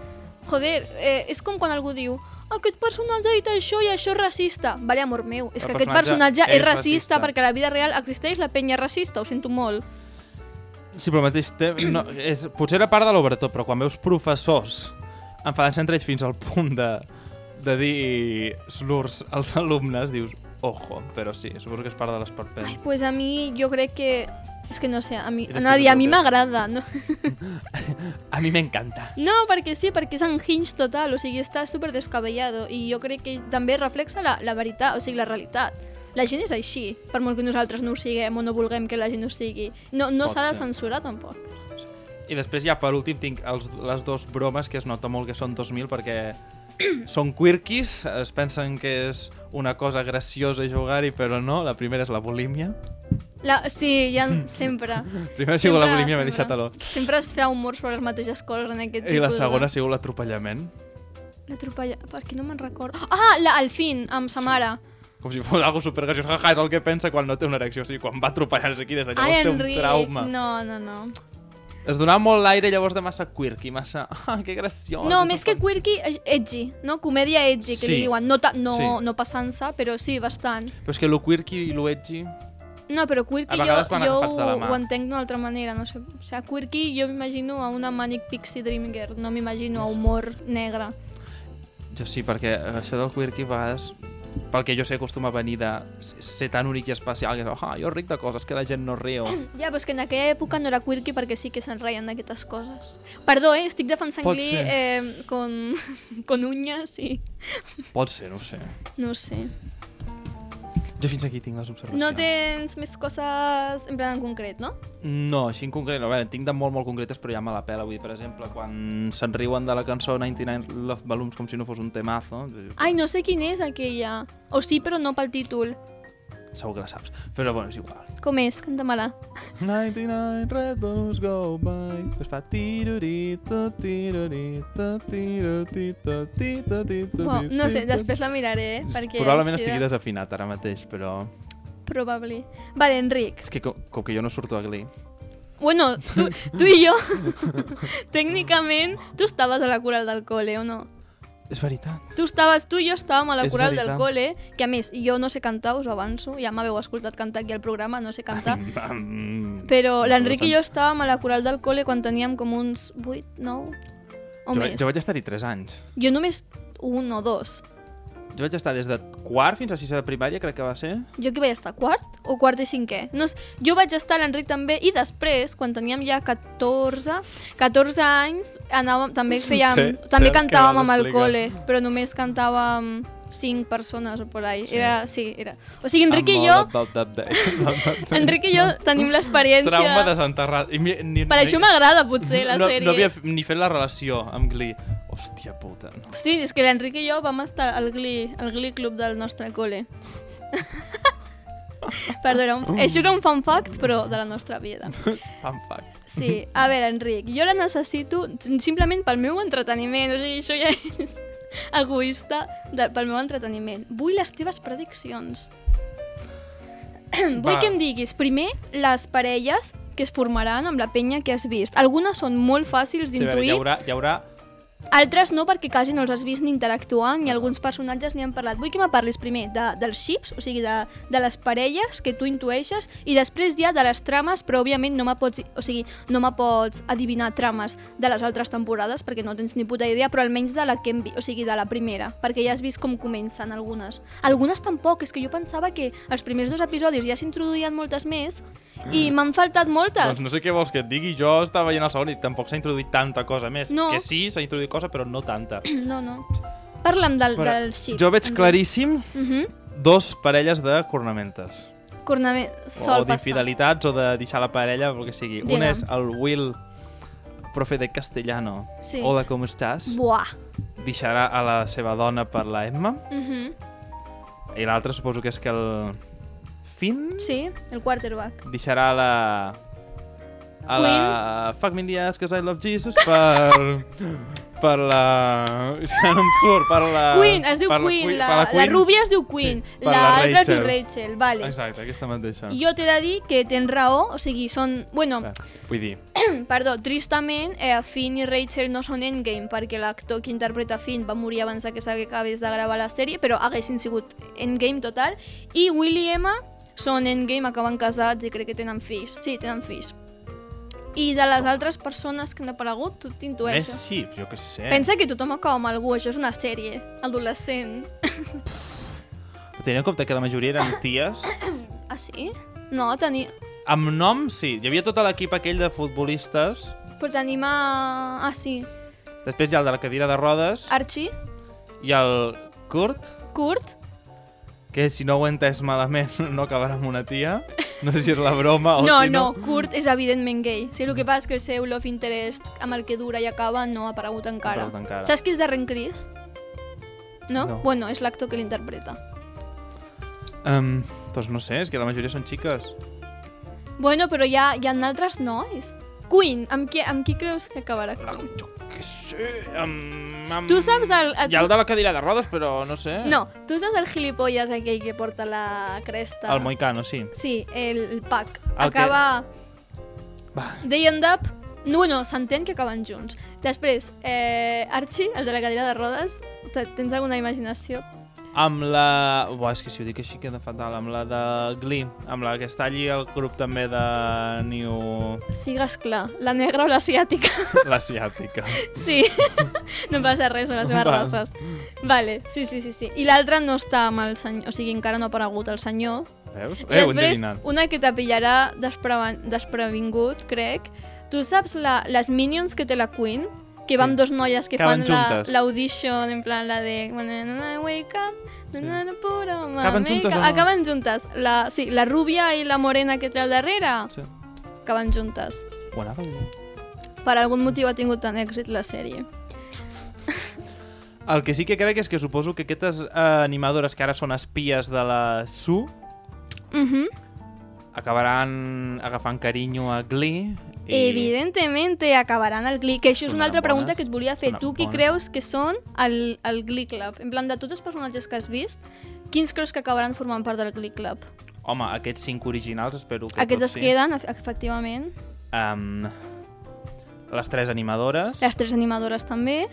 [SPEAKER 2] joder, eh, és com quan algú diu aquest personatge ha dit això i això és racista. Vale, amor meu, és
[SPEAKER 3] El
[SPEAKER 2] que aquest personatge
[SPEAKER 3] personatge és
[SPEAKER 2] és racista,
[SPEAKER 3] racista.
[SPEAKER 2] perquè a la vida real existeix la penya racista, ho sento molt.
[SPEAKER 3] Sí, però al mateix temps... No, és, potser era part de l'obretó, però quan veus professors enfadant-se entre ells fins al punt de, de dir slurs als alumnes, dius, ojo, però sí, suposo que és part de
[SPEAKER 2] Ai,
[SPEAKER 3] l'esperpent.
[SPEAKER 2] pues a mi jo crec que... És que no sé, a mi...
[SPEAKER 3] I després
[SPEAKER 2] Nadia, a mi
[SPEAKER 3] el que-
[SPEAKER 2] m'agrada, no?
[SPEAKER 3] A mi m'encanta.
[SPEAKER 2] No, perquè sí, perquè és en hinge total, o sigui, està super descabellado i jo crec que també reflexa la, la veritat, o sigui, la realitat. La gent és així, per molt que nosaltres no ho siguem o no vulguem que la gent ho sigui. No, no
[SPEAKER 3] Pot
[SPEAKER 2] s'ha de
[SPEAKER 3] ser.
[SPEAKER 2] censurar, tampoc.
[SPEAKER 3] I després ja, per últim, tinc els, les dos bromes que es nota molt que són 2000 perquè són quirquis, es pensen que és una cosa graciosa jugar-hi, però no. La primera és la bulímia.
[SPEAKER 2] La, sí, ja sempre.
[SPEAKER 3] Primer ha sigut la
[SPEAKER 2] Sempre-
[SPEAKER 3] bulímia,
[SPEAKER 2] sempre.
[SPEAKER 3] m'he deixat a l'or.
[SPEAKER 2] Sempre es fa humor sobre les mateixes coses en aquest
[SPEAKER 3] I la
[SPEAKER 2] tipus De...
[SPEAKER 3] segona ha sigut l'atropellament.
[SPEAKER 2] L'atropella... Per què no me'n recordo? Ah, la, al fin, amb sa mare.
[SPEAKER 3] Com si fos algo supergraciós. Ja, ja, és el que pensa quan no té una erecció. O sigui, quan va atropellant aquí des de llavors
[SPEAKER 2] Ai,
[SPEAKER 3] té un
[SPEAKER 2] Ah, Enric.
[SPEAKER 3] trauma.
[SPEAKER 2] No, no, no.
[SPEAKER 3] Es donava molt l'aire llavors de massa quirky, massa... Ah, que graciós.
[SPEAKER 2] No,
[SPEAKER 3] és
[SPEAKER 2] més que
[SPEAKER 3] ofensiu.
[SPEAKER 2] quirky, eh, edgy, no? Comèdia edgy, que
[SPEAKER 3] Sí.
[SPEAKER 2] li diuen. No, ta, no,
[SPEAKER 3] Sí.
[SPEAKER 2] no passant-se, però sí, bastant.
[SPEAKER 3] Però és que lo quirky i lo edgy...
[SPEAKER 2] No, però quirky
[SPEAKER 3] A
[SPEAKER 2] jo,
[SPEAKER 3] vegades van
[SPEAKER 2] jo
[SPEAKER 3] agafats de la
[SPEAKER 2] ho,
[SPEAKER 3] mà.
[SPEAKER 2] ho entenc d'una altra manera, no sé. O sigui, quirky jo m'imagino a una Manic Pixie Dream Girl, no m'imagino a humor negre.
[SPEAKER 3] Jo sí, perquè això del quirky a vegades pel que jo sé acostuma a venir de ser tan únic i especial que és, ah, jo ric de coses que la gent no riu.
[SPEAKER 2] Ja, però és que en aquella època no era quirky perquè sí que se'n reien d'aquestes coses. Perdó, eh? Estic defensant
[SPEAKER 3] Pot
[SPEAKER 2] Glee
[SPEAKER 3] ser.
[SPEAKER 2] eh, con, con uñas i...
[SPEAKER 3] Pot ser, no ho sé.
[SPEAKER 2] No ho sé.
[SPEAKER 3] Jo fins aquí tinc les observacions.
[SPEAKER 2] No tens més coses en plan en concret, no?
[SPEAKER 3] No, així en concret, no. a veure, en tinc de molt, molt concretes, però ja me la pela. Vull dir, per exemple, quan se'n riuen de la cançó 99 Love Balloons com si no fos un temazo, diu,
[SPEAKER 2] Ai, no sé quin és aquella. O sí, però no pel títol.
[SPEAKER 3] segur que la saps. Però bueno, és igual.
[SPEAKER 2] Com és? Canta-me-la.
[SPEAKER 3] 99 Red Balloons Go By Pues fa tirurita, tirurita, tirurita, tirurita,
[SPEAKER 2] Wow,
[SPEAKER 3] tirurita,
[SPEAKER 2] no sé, després la miraré, eh? Perquè
[SPEAKER 3] Probablement
[SPEAKER 2] així de-
[SPEAKER 3] estigui desafinat ara mateix, però...
[SPEAKER 2] Probably. Vale, Enric.
[SPEAKER 3] És que com, com que jo no surto a Glee...
[SPEAKER 2] Bueno, tu, tu i jo, tècnicament, tu estaves a la coral del col·le, o no?
[SPEAKER 3] És veritat.
[SPEAKER 2] Tu estaves, tu i jo estàvem a la
[SPEAKER 3] És
[SPEAKER 2] coral
[SPEAKER 3] veritat.
[SPEAKER 2] del col·le, que a més, jo no sé cantar, us ho avanço, ja m'haveu escoltat cantar aquí al programa, no sé cantar,
[SPEAKER 3] Mm,
[SPEAKER 2] però l'Enric
[SPEAKER 3] doncs
[SPEAKER 2] i jo estàvem a la coral del col·le quan teníem com uns 8, 9 o
[SPEAKER 3] jo, vaig-
[SPEAKER 2] més.
[SPEAKER 3] jo vaig estar-hi 3 anys.
[SPEAKER 2] jo només un o dos.
[SPEAKER 3] Jo vaig estar des de quart fins a sisè de primària, crec que va ser.
[SPEAKER 2] Jo que vaig estar quart o quart i cinquè. No, s- jo vaig estar a l'Enric també i després, quan teníem ja 14, 14 anys, anàvem, també fèiem,
[SPEAKER 3] Sé-
[SPEAKER 2] sí, també
[SPEAKER 3] sé el que
[SPEAKER 2] cantàvem
[SPEAKER 3] vas
[SPEAKER 2] amb el
[SPEAKER 3] explicar.
[SPEAKER 2] col·le, però només cantàvem 5 persones o por ahí.
[SPEAKER 3] Sí.
[SPEAKER 2] Sí. Era, sí, era. O sigui, Enric i jo, Enric i jo tenim l'experiència.
[SPEAKER 3] Trauma desenterrat. I mi, ni,
[SPEAKER 2] Per això m'agrada, potser, la
[SPEAKER 3] no,
[SPEAKER 2] sèrie.
[SPEAKER 3] No havia f- ni fet la relació amb Glee. Hòstia puta. No.
[SPEAKER 2] Sí, és que l'Enric i jo vam estar al Glee, al Glee Club del nostre col·le. Perdó, era un,
[SPEAKER 3] Oh.
[SPEAKER 2] això era un fun fact, però de la nostra vida.
[SPEAKER 3] Fun fact.
[SPEAKER 2] Sí, a veure, Enric, jo la necessito simplement pel meu entreteniment, o sigui, això ja és egoista de, pel meu entreteniment. Vull les teves prediccions. Vull
[SPEAKER 3] Va.
[SPEAKER 2] que em diguis, primer, les parelles que es formaran amb la penya que has vist. Algunes són molt fàcils
[SPEAKER 3] Sí, a veure,
[SPEAKER 2] d'intuir.
[SPEAKER 3] hi haurà, hi haurà
[SPEAKER 2] Altres no, perquè quasi no els has vist ni interactuant, i alguns personatges n'hi han parlat. Vull que me parlis primer de, dels ships, o sigui, de, de les parelles que tu intueixes, i després ja de les trames, però òbviament no me pots, o sigui, no me pots adivinar trames de les altres temporades, perquè no tens ni puta idea, però almenys de la que hem vist, o sigui, de la primera, perquè ja has vist com comencen algunes. Algunes tampoc, és que jo pensava que els primers dos episodis ja s'introduïen moltes més, i m'han faltat moltes.
[SPEAKER 3] Mm. Doncs no sé què vols que et digui, jo estava veient el segon i tampoc s'ha introduït tanta cosa més.
[SPEAKER 2] No.
[SPEAKER 3] Que sí, s'ha introduït cosa, però no tanta.
[SPEAKER 2] No, no. Parla'm del,
[SPEAKER 3] Però
[SPEAKER 2] dels xips.
[SPEAKER 3] Jo veig claríssim
[SPEAKER 2] Uh -huh.
[SPEAKER 3] dos parelles de cornamentes.
[SPEAKER 2] Cornament,
[SPEAKER 3] o
[SPEAKER 2] sol passar.
[SPEAKER 3] d'infidelitats o de deixar la parella, o el que sigui.
[SPEAKER 2] Digue'm.
[SPEAKER 3] Un és el Will, profe de castellano.
[SPEAKER 2] Sí.
[SPEAKER 3] Hola, com estàs?
[SPEAKER 2] Buah.
[SPEAKER 3] Deixarà a la seva dona per la Emma.
[SPEAKER 2] Uh -huh.
[SPEAKER 3] I l'altre suposo que és que el Finn
[SPEAKER 2] Sí, el quarterback.
[SPEAKER 3] deixarà a la... A la... Fuck me in the ass, cause I love Jesus, per... per la... És que ara no em surt, per la...
[SPEAKER 2] Queen, es diu
[SPEAKER 3] Ah, per la
[SPEAKER 2] Queen,
[SPEAKER 3] Queen-
[SPEAKER 2] la,
[SPEAKER 3] per
[SPEAKER 2] la,
[SPEAKER 3] Queen.
[SPEAKER 2] rúbia es diu Queen,
[SPEAKER 3] Sí, per la
[SPEAKER 2] l'altra es diu
[SPEAKER 3] Rachel.
[SPEAKER 2] Rachel, vale.
[SPEAKER 3] Exacte, aquesta mateixa.
[SPEAKER 2] Jo t'he de dir que tens raó, o sigui, són... Bueno,
[SPEAKER 3] Clar, Vull dir,
[SPEAKER 2] perdó, tristament, eh, Finn i Rachel no són Endgame, perquè l'actor que interpreta Finn va morir abans de que s'acabés de gravar la sèrie, però haguessin sigut Endgame total, i Will i Emma són Endgame, acaben casats i crec que tenen fills. Sí, tenen fills. I de les altres persones que han aparegut, tu
[SPEAKER 3] més
[SPEAKER 2] t'intueixes.
[SPEAKER 3] xips, jo què sé.
[SPEAKER 2] Pensa que tothom acaba amb algú, això és una sèrie, adolescent.
[SPEAKER 3] Tenint en compte que la majoria eren ties,
[SPEAKER 2] Ah, sí? No, tenia...
[SPEAKER 3] amb nom sí, hi havia tot l'equip aquell de futbolistes,
[SPEAKER 2] Però tenim a... Ah, sí.
[SPEAKER 3] després hi ha el de la cadira de rodes,
[SPEAKER 2] Archie,
[SPEAKER 3] i el Kurt,
[SPEAKER 2] Kurt,
[SPEAKER 3] que si no ho he entès malament no acabarà amb una tia, no sé si és la broma o
[SPEAKER 2] no,
[SPEAKER 3] si no...
[SPEAKER 2] no, Kurt és evidentment gay. Sí, el que passa és que el seu love interest amb el que dura i acaba no ha aparegut encara.
[SPEAKER 3] aparegut encara.
[SPEAKER 2] Saps qui és Darren Criss? No?
[SPEAKER 3] No.
[SPEAKER 2] Bueno, és l'actor que l'interpreta.
[SPEAKER 3] Em, doncs no sé, és que la majoria són xiques.
[SPEAKER 2] Bueno, però hi ha, hi ha altres nois. Queen, amb qui, amb qui creus que acabarà?
[SPEAKER 3] La, jo què sé... Amb, amb...
[SPEAKER 2] Tu saps el- el-
[SPEAKER 3] Hi ha el de la cadira de rodes, però no sé...
[SPEAKER 2] No, tu saps el gilipolles aquell que porta la cresta?
[SPEAKER 3] El Moicano, sí.
[SPEAKER 2] Sí, el, el Pac.
[SPEAKER 3] El que-
[SPEAKER 2] Acaba...
[SPEAKER 3] Va.
[SPEAKER 2] They end up... No, bueno, s'entén que acaben junts. Després, eh, Archie, el de la cadira de rodes, te- tens alguna imaginació?
[SPEAKER 3] Amb la... Buah, és que si ho dic així queda fatal. Amb la de Glee. Amb la que està allí el grup també de New...
[SPEAKER 2] Sigues clar, la negra o l'asiàtica.
[SPEAKER 3] L'asiàtica.
[SPEAKER 2] Sí, no passa res, són les seves
[SPEAKER 3] Va.
[SPEAKER 2] races. Vale, sí, sí, sí. sí. I l'altra no està amb el senyor, o sigui, encara no ha aparegut el senyor.
[SPEAKER 3] Veus?
[SPEAKER 2] I
[SPEAKER 3] Eh, ho he
[SPEAKER 2] després,
[SPEAKER 3] endevinat.
[SPEAKER 2] una que t'apillarà despreven- desprevingut, crec. Tu saps la, les Minions que té la Queen? Que
[SPEAKER 3] Sí.
[SPEAKER 2] sí. van dos noies que
[SPEAKER 3] Caben
[SPEAKER 2] fan la-
[SPEAKER 3] juntes.
[SPEAKER 2] l'audition, en plan la de... When I wake up,
[SPEAKER 3] Sí.
[SPEAKER 2] na, na, pura
[SPEAKER 3] Caben
[SPEAKER 2] mama,
[SPEAKER 3] juntes o no?
[SPEAKER 2] Acaben juntes. La, sí, la rúbia i la morena que té al darrere
[SPEAKER 3] Sí.
[SPEAKER 2] acaben juntes.
[SPEAKER 3] Ho anava bé.
[SPEAKER 2] Per algun motiu ha tingut tant èxit la sèrie.
[SPEAKER 3] El que sí que crec és que suposo que aquestes eh, animadores que ara són espies de la Su
[SPEAKER 2] Mhm.
[SPEAKER 3] acabaran agafant carinyo a Glee. I...
[SPEAKER 2] Eh, Evidentment acabaran el Glee, que això és una
[SPEAKER 3] Sonaran
[SPEAKER 2] altra pregunta
[SPEAKER 3] bones,
[SPEAKER 2] que et volia fer.
[SPEAKER 3] sonaran
[SPEAKER 2] Tu qui
[SPEAKER 3] bones.
[SPEAKER 2] creus que són el, el Glee Club? En plan, de tots els personatges que has vist, quins creus que acabaran formant part del Glee Club?
[SPEAKER 3] Home, aquests cinc originals espero que
[SPEAKER 2] Aquests
[SPEAKER 3] tots
[SPEAKER 2] es queden, ef- efectivament.
[SPEAKER 3] Um, les tres animadores
[SPEAKER 2] Les tres animadores també.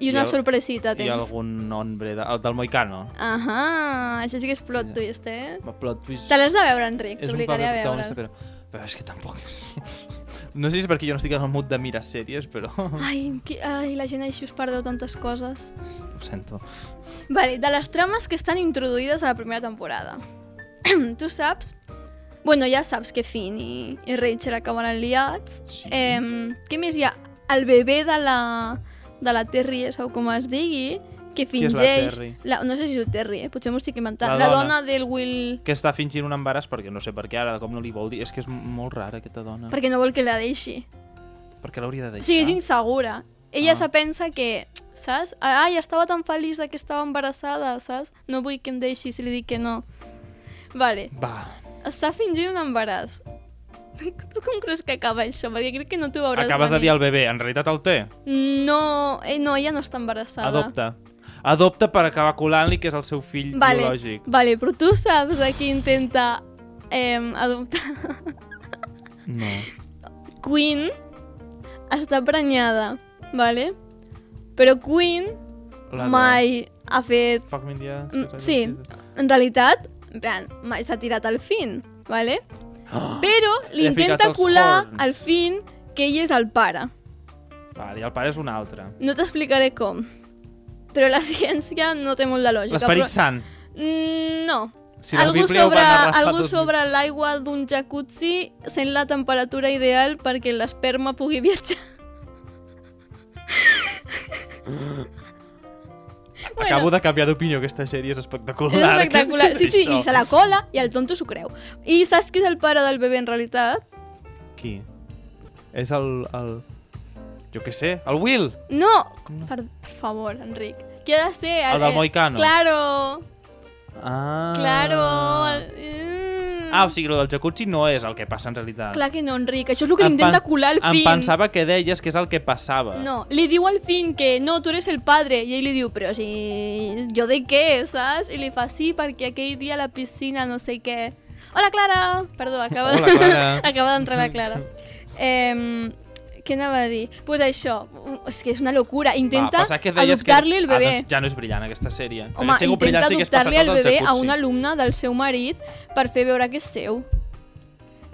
[SPEAKER 2] I
[SPEAKER 3] I
[SPEAKER 2] una
[SPEAKER 3] el-
[SPEAKER 2] sorpresita
[SPEAKER 3] i
[SPEAKER 2] tens.
[SPEAKER 3] algun nombre de, el del Moicano.
[SPEAKER 2] Ahà, això sí que és plot twist, eh?
[SPEAKER 3] Plot twist.
[SPEAKER 2] Te l'has de veure, Enric,
[SPEAKER 3] és un paper
[SPEAKER 2] t'obligaré a veure.
[SPEAKER 3] protagonista, però... Però és que tampoc és... No sé si és perquè jo no estic en el mood de mirar sèries, però... Ho
[SPEAKER 2] Ai, qui... Ai, la gent així us perdeu tantes coses.
[SPEAKER 3] sento.
[SPEAKER 2] Vale, de les trames que estan introduïdes a la primera temporada. tu saps... Bueno, ja saps que Finn i, i Rachel acabaran liats.
[SPEAKER 3] Sí.
[SPEAKER 2] Em, què més hi ha? El bebè de la, de la Terry, o com es digui, que
[SPEAKER 3] és la
[SPEAKER 2] fingeix...
[SPEAKER 3] Terry?
[SPEAKER 2] la no sé si es diu Terry, eh? potser m'ho estic inventant.
[SPEAKER 3] La
[SPEAKER 2] La,
[SPEAKER 3] dona.
[SPEAKER 2] dona del Will...
[SPEAKER 3] Que està fingint un embaràs perquè no sé per què ara, de com no li vol dir. És que és molt rara aquesta dona. Per,
[SPEAKER 2] Perquè no vol que la deixi.
[SPEAKER 3] què l'hauria de
[SPEAKER 2] O
[SPEAKER 3] deixar?
[SPEAKER 2] sigui, és insegura. Ella
[SPEAKER 3] Ah.
[SPEAKER 2] ah. se pensa que, saps? Ai, estava tan feliç de que estava embarassada, saps? No vull que em deixi si li dic que no. Vale.
[SPEAKER 3] Va,
[SPEAKER 2] Està fingint un embaràs. Tu com creus que acaba això? Perquè crec que no t'ho veuràs
[SPEAKER 3] acabes de
[SPEAKER 2] venir.
[SPEAKER 3] dir al bebè, en realitat el té.
[SPEAKER 2] No, eh, no, ella no està embarassada.
[SPEAKER 3] Adopta. Adopta per acabar colant-li, que és el seu fill
[SPEAKER 2] Vale,
[SPEAKER 3] biològic.
[SPEAKER 2] vale, però tu saps a qui intenta eh, adoptar.
[SPEAKER 3] No.
[SPEAKER 2] Queen està prenyada, vale? Però Queen
[SPEAKER 3] La de
[SPEAKER 2] mai ha fet...
[SPEAKER 3] Fuck me in the ass,
[SPEAKER 2] Mm,
[SPEAKER 3] que
[SPEAKER 2] sí.
[SPEAKER 3] s'ha
[SPEAKER 2] En realitat, en plan, mai s'ha tirat al fin, ¿vale? Però li
[SPEAKER 3] Li ha ficat
[SPEAKER 2] intenta
[SPEAKER 3] els
[SPEAKER 2] colar
[SPEAKER 3] horns.
[SPEAKER 2] al fin que ell és el pare.
[SPEAKER 3] Vale, i el pare és un altre.
[SPEAKER 2] No t'explicaré com. Però la ciència no té molt de lògica.
[SPEAKER 3] L'esperit
[SPEAKER 2] però-
[SPEAKER 3] sant.
[SPEAKER 2] Mm, No.
[SPEAKER 3] Si la
[SPEAKER 2] algú
[SPEAKER 3] Bíblia ho
[SPEAKER 2] sobre,
[SPEAKER 3] va narrar fa
[SPEAKER 2] algú
[SPEAKER 3] 2000.
[SPEAKER 2] sobre l'aigua d'un jacuzzi sent la temperatura ideal perquè l'esperma pugui viatjar.
[SPEAKER 3] Bueno. Acabo de canviar d'opinió, aquesta sèrie és espectacular.
[SPEAKER 2] És espectacular.
[SPEAKER 3] Què
[SPEAKER 2] Sí,
[SPEAKER 3] és
[SPEAKER 2] sí,
[SPEAKER 3] això?
[SPEAKER 2] i se la cola i el tonto s'ho creu. I saps qui és el pare del bebè en realitat?
[SPEAKER 3] Qui? És el... el... Jo què sé, el Will!
[SPEAKER 2] No! Per, per favor, Enric. Qui ha de ser?
[SPEAKER 3] El del Moicano.
[SPEAKER 2] Claro,
[SPEAKER 3] Ah.
[SPEAKER 2] claro. El...
[SPEAKER 3] Ah, o sigui, el del jacuzzi no és el que passa en realitat.
[SPEAKER 2] Clar que no, Enric. Això és el que li intenta colar al
[SPEAKER 3] Em
[SPEAKER 2] fin.
[SPEAKER 3] pensava que deies que és el que passava.
[SPEAKER 2] No, li diu al fin que no, tu eres el padre. I ell li diu, però si... jo de què, saps? I li fa, sí, perquè aquell dia a la piscina no sé què. Hola, Clara! Perdó, acaba,
[SPEAKER 3] Hola, Clara.
[SPEAKER 2] acaba d'entrar la Clara. Eh, què anava a dir? Doncs pues això, és que és una locura.
[SPEAKER 3] Va,
[SPEAKER 2] Intenta
[SPEAKER 3] pensava que deies que...
[SPEAKER 2] adoptar-li el bebè.
[SPEAKER 3] Ah, doncs ja no és brillant, aquesta sèrie.
[SPEAKER 2] Home,
[SPEAKER 3] Hauria
[SPEAKER 2] intenta
[SPEAKER 3] sigut brillant si hagués passat
[SPEAKER 2] adoptar-li el
[SPEAKER 3] del
[SPEAKER 2] bebè a
[SPEAKER 3] jacuzzi.
[SPEAKER 2] un alumne del seu marit per fer veure que és seu.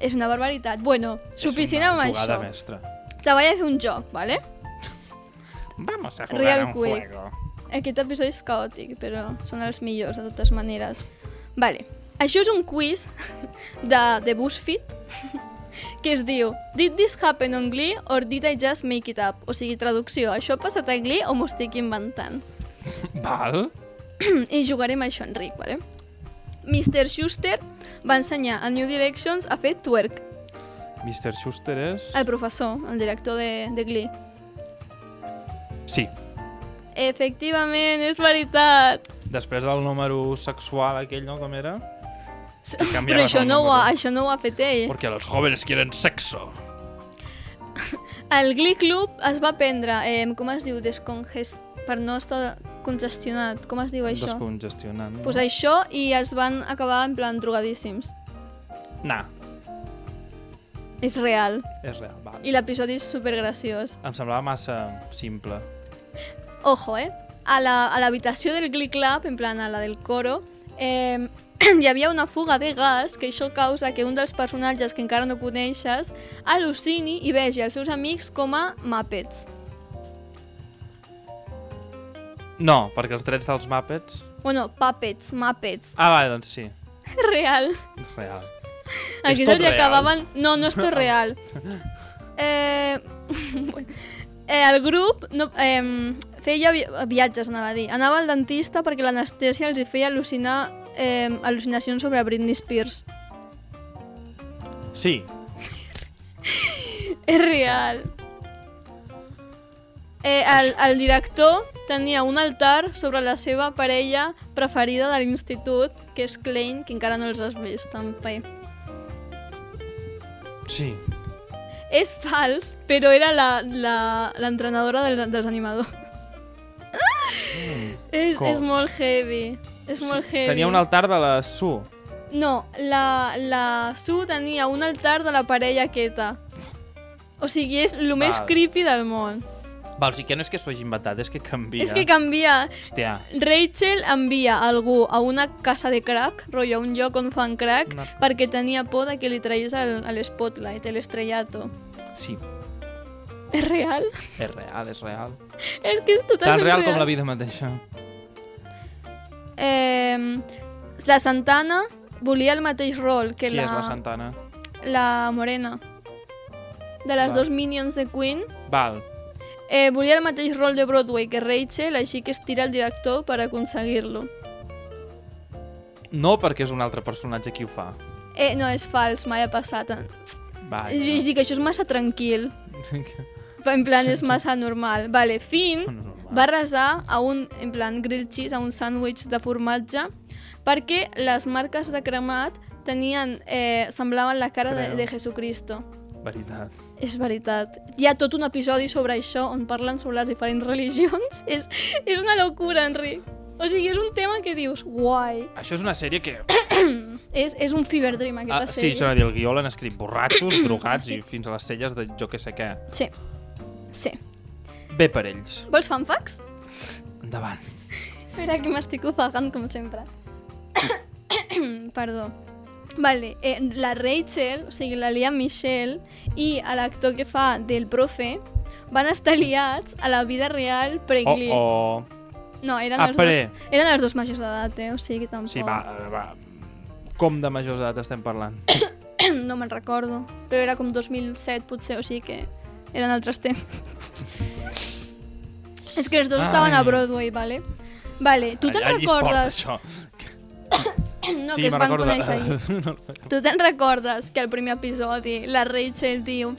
[SPEAKER 2] És una barbaritat. Bueno, suficient amb
[SPEAKER 3] És una jugada
[SPEAKER 2] això.
[SPEAKER 3] mestra.
[SPEAKER 2] Te vaig a fer un joc, ¿vale?
[SPEAKER 3] Vamos a
[SPEAKER 2] Real
[SPEAKER 3] jugar a un
[SPEAKER 2] quick.
[SPEAKER 3] juego.
[SPEAKER 2] Aquest episodi és caòtic, però són els millors, de totes maneres. Vale. Això és un quiz de, de BuzzFeed que es diu Did this happen on Glee or did I just make it up? O sigui, traducció, això ha passat a Glee o m'ho estic inventant?
[SPEAKER 3] Val?
[SPEAKER 2] I jugarem a això, Enric, vale? Mr. Schuster va ensenyar a New Directions a fer twerk.
[SPEAKER 3] Mr. Schuster és...
[SPEAKER 2] El professor, el director de, de Glee.
[SPEAKER 3] Sí.
[SPEAKER 2] Efectivament, és veritat.
[SPEAKER 3] Després del número sexual aquell, no? Com era? canviaves
[SPEAKER 2] Però això
[SPEAKER 3] el
[SPEAKER 2] no, ho ha,
[SPEAKER 3] número.
[SPEAKER 2] això no ho ha fet ell.
[SPEAKER 3] Porque los jóvenes quieren sexo.
[SPEAKER 2] El Glee Club es va prendre, eh, com es diu, descongest... per no estar congestionat, com es diu això? Doncs
[SPEAKER 3] Descongestionant.
[SPEAKER 2] pues això, i es van acabar en plan drogadíssims.
[SPEAKER 3] Nah,
[SPEAKER 2] És real.
[SPEAKER 3] és real, val.
[SPEAKER 2] I l'episodi és supergraciós.
[SPEAKER 3] Em semblava massa simple.
[SPEAKER 2] Ojo, eh? A la- a l'habitació del Glee Club, en plan a la del coro, eh, hi havia una fuga de gas que això causa que un dels personatges que encara no coneixes al·lucini i vegi els seus amics com a Muppets.
[SPEAKER 3] No, perquè els drets dels Muppets...
[SPEAKER 2] Bueno, Puppets, Muppets.
[SPEAKER 3] Ah, va, doncs sí,
[SPEAKER 2] Real.
[SPEAKER 3] és real.
[SPEAKER 2] Aquí
[SPEAKER 3] ¿Es tot
[SPEAKER 2] se li
[SPEAKER 3] real?
[SPEAKER 2] acabaven... No, no és tot real. Eh, bueno. eh, el grup no, eh, feia vi viatges, anava a dir. Anava al dentista perquè l'anestèsia els hi feia al·lucinar eh, al·lucinacions sobre Britney Spears.
[SPEAKER 3] Sí,
[SPEAKER 2] És real. Eh, el, el director tenia un altar sobre la seva parella preferida de l'institut, que és Klein, que encara no els has vist, també.
[SPEAKER 3] sí.
[SPEAKER 2] És fals, però era la- la- l'entrenadora del, dels animadors. és,
[SPEAKER 3] com?
[SPEAKER 2] és molt heavy. És molt heavy.
[SPEAKER 3] Mm. Tenia un altar de la Su.
[SPEAKER 2] No, la, la Sue tenia un altar de la parella aquesta. O sigui, és el més
[SPEAKER 3] Val.
[SPEAKER 2] creepy del món.
[SPEAKER 3] Val, o sigui que no és que s'ho hagi inventat, és que canvia.
[SPEAKER 2] És que canvia.
[SPEAKER 3] Hòstia,
[SPEAKER 2] Rachel envia algú a una casa de crack, rotllo, a un lloc on fan crack,
[SPEAKER 3] Una-
[SPEAKER 2] perquè tenia por de que li tragués el- el spotlight, el estrellato.
[SPEAKER 3] sí,
[SPEAKER 2] És real?
[SPEAKER 3] és real, és real.
[SPEAKER 2] és que és totalment
[SPEAKER 3] Tan real com
[SPEAKER 2] real.
[SPEAKER 3] la vida mateixa.
[SPEAKER 2] Eh, la Santana volia el mateix rol que
[SPEAKER 3] Qui
[SPEAKER 2] la,
[SPEAKER 3] és la Santana?
[SPEAKER 2] la Morena. De les
[SPEAKER 3] Va.
[SPEAKER 2] dos Minions de Queen.
[SPEAKER 3] Val,
[SPEAKER 2] Eh, volia el mateix rol de Broadway que Rachel, així que estira el director per aconseguir-lo.
[SPEAKER 3] no perquè és un altre personatge qui ho fa.
[SPEAKER 2] Eh, no, és fals, mai ha passat.
[SPEAKER 3] Ah, Va,
[SPEAKER 2] Jo
[SPEAKER 3] ja.
[SPEAKER 2] dic, això és massa tranquil. En plan, és massa normal. Vale, Finn
[SPEAKER 3] Bueno, normal.
[SPEAKER 2] va resar a un, en plan, grill cheese, a un sàndwich de formatge, perquè les marques de cremat tenien, eh, semblaven la cara de,
[SPEAKER 3] Creu.
[SPEAKER 2] de Jesucristo.
[SPEAKER 3] Veritat.
[SPEAKER 2] És veritat. Hi ha tot un episodi sobre això on parlen sobre les diferents religions. És, és una locura, Enric. O sigui, és un tema que dius, guai.
[SPEAKER 3] Això és una sèrie que...
[SPEAKER 2] És, és un fever dream,
[SPEAKER 3] Ah,
[SPEAKER 2] aquesta
[SPEAKER 3] sí,
[SPEAKER 2] sèrie.
[SPEAKER 3] això no dir, el guió l'han escrit borratxos, drogats i fins a les celles de jo que sé què.
[SPEAKER 2] Sí. Sí.
[SPEAKER 3] Bé per ells.
[SPEAKER 2] Vols fanfacs?
[SPEAKER 3] Endavant.
[SPEAKER 2] Espera, que m'estic ofegant com sempre. Perdó. Vale, eh, la Rachel, o sigui, la Lia Michelle i l'actor que fa del profe van estar liats a la vida real
[SPEAKER 3] Oh,
[SPEAKER 2] pre-Glee.
[SPEAKER 3] oh.
[SPEAKER 2] No, eren,
[SPEAKER 3] Ah,
[SPEAKER 2] els
[SPEAKER 3] pre.
[SPEAKER 2] dos, eren els dos majors d'edat, eh? O sigui que tampoc...
[SPEAKER 3] Sí, va, eh, va. Com de majors d'edat estem parlant?
[SPEAKER 2] No me'n recordo, però era com 2007 potser, o sigui que eren altres temps. És que els dos
[SPEAKER 3] Ai.
[SPEAKER 2] estaven a Broadway, vale? Vale, tu te'n
[SPEAKER 3] Allà allí es porta,
[SPEAKER 2] recordes...
[SPEAKER 3] això.
[SPEAKER 2] No,
[SPEAKER 3] sí,
[SPEAKER 2] que es
[SPEAKER 3] me'n
[SPEAKER 2] van
[SPEAKER 3] recordo.
[SPEAKER 2] conèixer allí. Tu te'n recordes que al primer episodi la Rachel diu